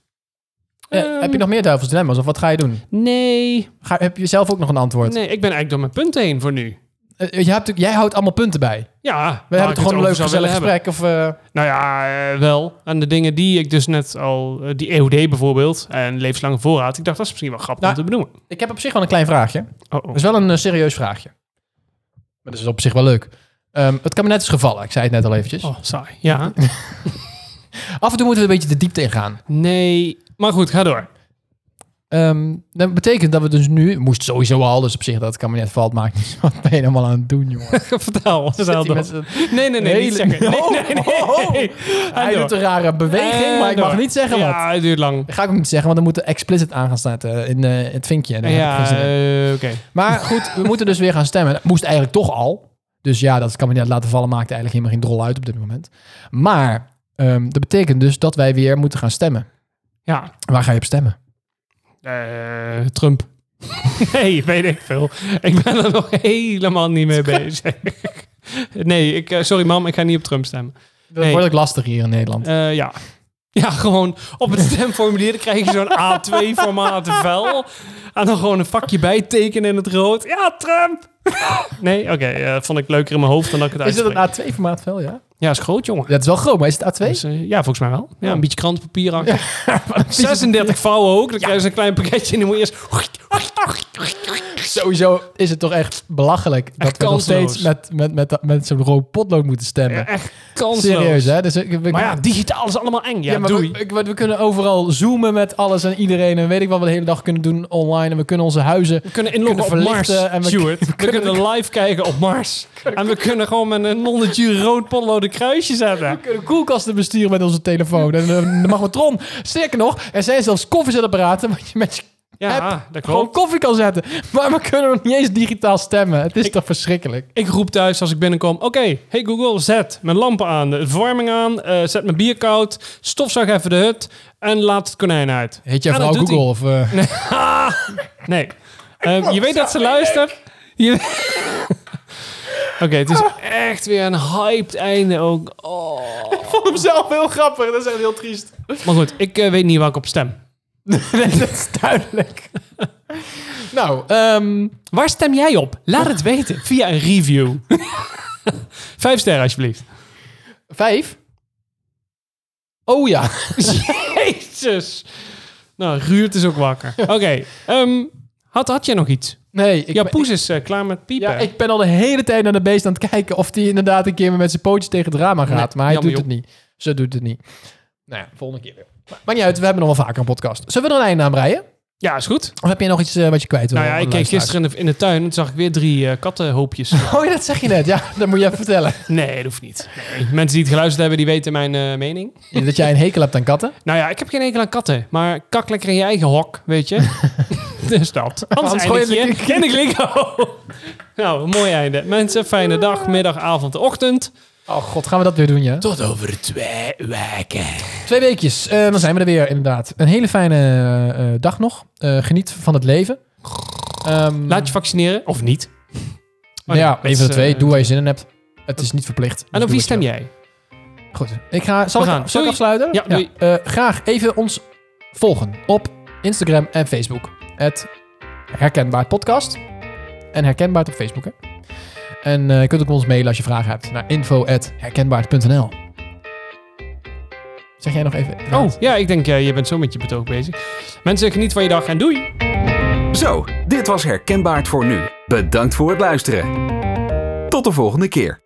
Speaker 1: Eh,
Speaker 2: Ehm,
Speaker 1: heb je nog meer duivels dilemma's of wat ga je doen?
Speaker 2: Nee,
Speaker 1: Ga, heb je zelf ook nog een antwoord?
Speaker 2: nee, ik ben eigenlijk door mijn punten heen voor nu.
Speaker 1: Eh, je hebt, natuurlijk- jij houdt allemaal punten bij. We
Speaker 2: Ja, waar
Speaker 1: hebben toch
Speaker 2: ik
Speaker 1: gewoon
Speaker 2: het
Speaker 1: een leuk
Speaker 2: over zou willen
Speaker 1: gezellig
Speaker 2: hebben.
Speaker 1: gesprek? Of, eh,
Speaker 2: Nou ja, eh, wel. En de dingen die ik dus net al... eh, die EOD bijvoorbeeld en levenslange voorraad. Ik dacht, dat is misschien wel grappig
Speaker 1: Nou,
Speaker 2: om te benoemen.
Speaker 1: ik heb op zich wel een klein vraagje.
Speaker 2: Oh,
Speaker 1: Dat
Speaker 2: oh.
Speaker 1: is wel een eh, serieus vraagje. Maar dat is op zich wel leuk. Ehm, het kabinet is gevallen. Ik zei het net al eventjes.
Speaker 2: Oh, saai. Ja.
Speaker 1: Af en toe moeten we een beetje de diepte ingaan.
Speaker 2: Nee. Maar goed, ga door.
Speaker 1: Eh, Ehm, dat betekent dat we dus nu... Moest sowieso al, dus op zich dat het kabinet valt, maakt niet. Wat ben je allemaal aan het doen, jongen?
Speaker 2: Vertel, vertel
Speaker 1: Die
Speaker 2: door.
Speaker 1: mensen-
Speaker 2: Nee, nee, nee, niet
Speaker 1: Hele-
Speaker 2: zeggen. Nee,
Speaker 1: Oh,
Speaker 2: nee, nee.
Speaker 1: oh, oh.
Speaker 2: En
Speaker 1: Hij
Speaker 2: door.
Speaker 1: doet een rare beweging,
Speaker 2: En
Speaker 1: maar ik mag
Speaker 2: door.
Speaker 1: niet zeggen wat.
Speaker 2: Ja, het duurt lang.
Speaker 1: Dat ga ik ook niet zeggen, want dan moet er explicit aan gaan staan eh, in eh, het vinkje. En daar heb ik geen
Speaker 2: Ja,
Speaker 1: zin in.
Speaker 2: eh, oké.
Speaker 1: Maar goed, we moeten dus weer gaan stemmen. Dat moest eigenlijk toch al. Dus ja, dat kabinet laten vallen maakt eigenlijk helemaal geen drol uit op dit moment. Maar ehm, dat betekent dus dat wij weer moeten gaan stemmen.
Speaker 2: Ja,
Speaker 1: Waar ga je op stemmen?
Speaker 2: Eh, Trump. nee, weet ik veel. Ik ben er nog helemaal niet mee bezig. nee, ik, eh, sorry mam, ik ga niet op Trump stemmen.
Speaker 1: Dat
Speaker 2: Nee.
Speaker 1: wordt ook lastig hier in Nederland.
Speaker 2: Eh, ja. ja, gewoon op het stemformulier dan krijg je zo'n A2-formaat vel. En dan gewoon een vakje bij tekenen in het rood. Ja, Trump! nee, oké, eh, vond ik leuker in mijn hoofd dan dat ik het
Speaker 1: is het
Speaker 2: uitspreek.
Speaker 1: een A2-formaat wel, ja?
Speaker 2: Ja, is groot, jongen.
Speaker 1: Dat is wel groot, maar is het A2?
Speaker 2: Dus, eh, ja, volgens mij wel. Ja, een beetje krantpapier achter.
Speaker 1: Wat een
Speaker 2: 36 vouwen ook. Dan krijg je zo'n klein pakketje en dan moet je
Speaker 1: vies-
Speaker 2: eerst...
Speaker 1: Sowieso is het toch echt belachelijk dat we nog
Speaker 2: kansloos.
Speaker 1: steeds met, met, met, met zo'n rood potlood moeten stemmen.
Speaker 2: Ja, echt kansloos.
Speaker 1: Serieus, hè? Dus, ik- we-
Speaker 2: Maar ja, digitaal is allemaal eng. Ja,
Speaker 1: Ja, maar
Speaker 2: doei.
Speaker 1: we, ik- we- we kunnen overal zoomen met alles en iedereen. En weet ik wat we de hele dag kunnen doen online. En we kunnen onze huizen...
Speaker 2: We kunnen inloggen op
Speaker 1: kunnen
Speaker 2: Mars,
Speaker 1: verlichten en we-
Speaker 2: Stuart. We, kunnen live kijken op Mars. En we kunnen gewoon met een nonnetje rood potloden kruisje zetten.
Speaker 1: We kunnen koelkasten besturen met onze telefoon. En eh, de magnetron. Sterker nog, er zijn zelfs koffiezetapparaten... waar je met je
Speaker 2: Ja, dat
Speaker 1: gewoon
Speaker 2: klopt.
Speaker 1: koffie kan zetten. Maar we kunnen nog niet eens digitaal stemmen. Het is toch verschrikkelijk.
Speaker 2: Ik roep thuis als ik binnenkom. Oké, hey Google, zet mijn lampen aan, de verwarming aan, eh, zet mijn bier koud, stofzuig even de hut en laat het konijn uit.
Speaker 1: Heet jij
Speaker 2: En dat
Speaker 1: vrouw
Speaker 2: doet
Speaker 1: Google? Of, eh,
Speaker 2: Nee. Eh, je weet dat ze luistert. Je... Oké, het is echt weer een hyped einde ook. Oh.
Speaker 1: vond hem zelf heel grappig. Dat is echt heel triest.
Speaker 2: Maar goed, ik eh, weet niet waar ik op stem.
Speaker 1: Nee, dat is duidelijk. nou, ehm,
Speaker 2: Waar stem jij op? Laat het weten via een review. Vijf sterren alsjeblieft.
Speaker 1: vijf. Oh ja.
Speaker 2: Jezus. Nou, Ruurt is ook wakker. Oké, ehm, had, had jij nog iets?
Speaker 1: Nee, ik,
Speaker 2: Ja,
Speaker 1: ben-
Speaker 2: poes is eh, klaar met piepen.
Speaker 1: ja, ik ben al de hele tijd naar de beest aan het kijken of die inderdaad een keer weer met zijn pootjes tegen het raam aan gaat.
Speaker 2: Nee,
Speaker 1: maar hij
Speaker 2: jammer,
Speaker 1: doet het niet. Ze doet het niet. Nou ja, volgende keer weer. Maar, maakt niet uit, we hebben nog wel vaker een podcast. Zullen we er een einde aan breien?
Speaker 2: Ja, is goed.
Speaker 1: Of heb jij nog iets eh, wat je kwijt wil?
Speaker 2: nou ja, ik keek
Speaker 1: luisteraars?
Speaker 2: gisteren in de, in de tuin en toen zag ik weer drie eh, kattenhoopjes.
Speaker 1: Oh ja, dat zeg je net. Ja, dat moet je even vertellen.
Speaker 2: nee, dat hoeft niet. Nee. Mensen die het geluisterd hebben, die weten mijn eh, mening.
Speaker 1: dat jij een hekel hebt aan katten.
Speaker 2: Nou ja, ik heb geen enkel aan katten. Maar kak lekker in je eigen hok, weet je. dus dat. Anders
Speaker 1: gooi je
Speaker 2: eindig je
Speaker 1: de-
Speaker 2: in de kliko. nou, een mooi einde. Mensen, fijne dag, middag, avond, ochtend.
Speaker 1: Oh god, gaan we dat weer doen, ja?
Speaker 2: Tot over twee weken.
Speaker 1: Twee weekjes, eh, dan zijn we er weer inderdaad. Een hele fijne eh, eh, dag nog. Eh, geniet van het leven. Ehm,
Speaker 2: Laat je vaccineren, of niet.
Speaker 1: nou ja,
Speaker 2: dat
Speaker 1: een van
Speaker 2: is,
Speaker 1: de twee.
Speaker 2: eh,
Speaker 1: Doe waar je zin in hebt. Het is niet verplicht. Dus
Speaker 2: En
Speaker 1: doe
Speaker 2: op wie
Speaker 1: wat je
Speaker 2: stem
Speaker 1: wil.
Speaker 2: jij?
Speaker 1: Goed. Ik ga, zal,
Speaker 2: We
Speaker 1: ik,
Speaker 2: gaan.
Speaker 1: zal ik
Speaker 2: Doei.
Speaker 1: afsluiten?
Speaker 2: Ja, doei.
Speaker 1: Eh, graag even ons volgen op Instagram en Facebook. Het Herkenbaar Podcast. En Herkenbaar op Facebook, hè? En eh, je kunt ook ons mailen als je vragen hebt naar info.herkenbaar.nl Zeg jij nog even?
Speaker 2: Oh, ja, ik denk, eh, je bent zo met je betoog bezig. Mensen, geniet van je dag en doei.
Speaker 5: Zo, dit was Herkenbaar voor nu. Bedankt voor het luisteren. Tot de volgende keer.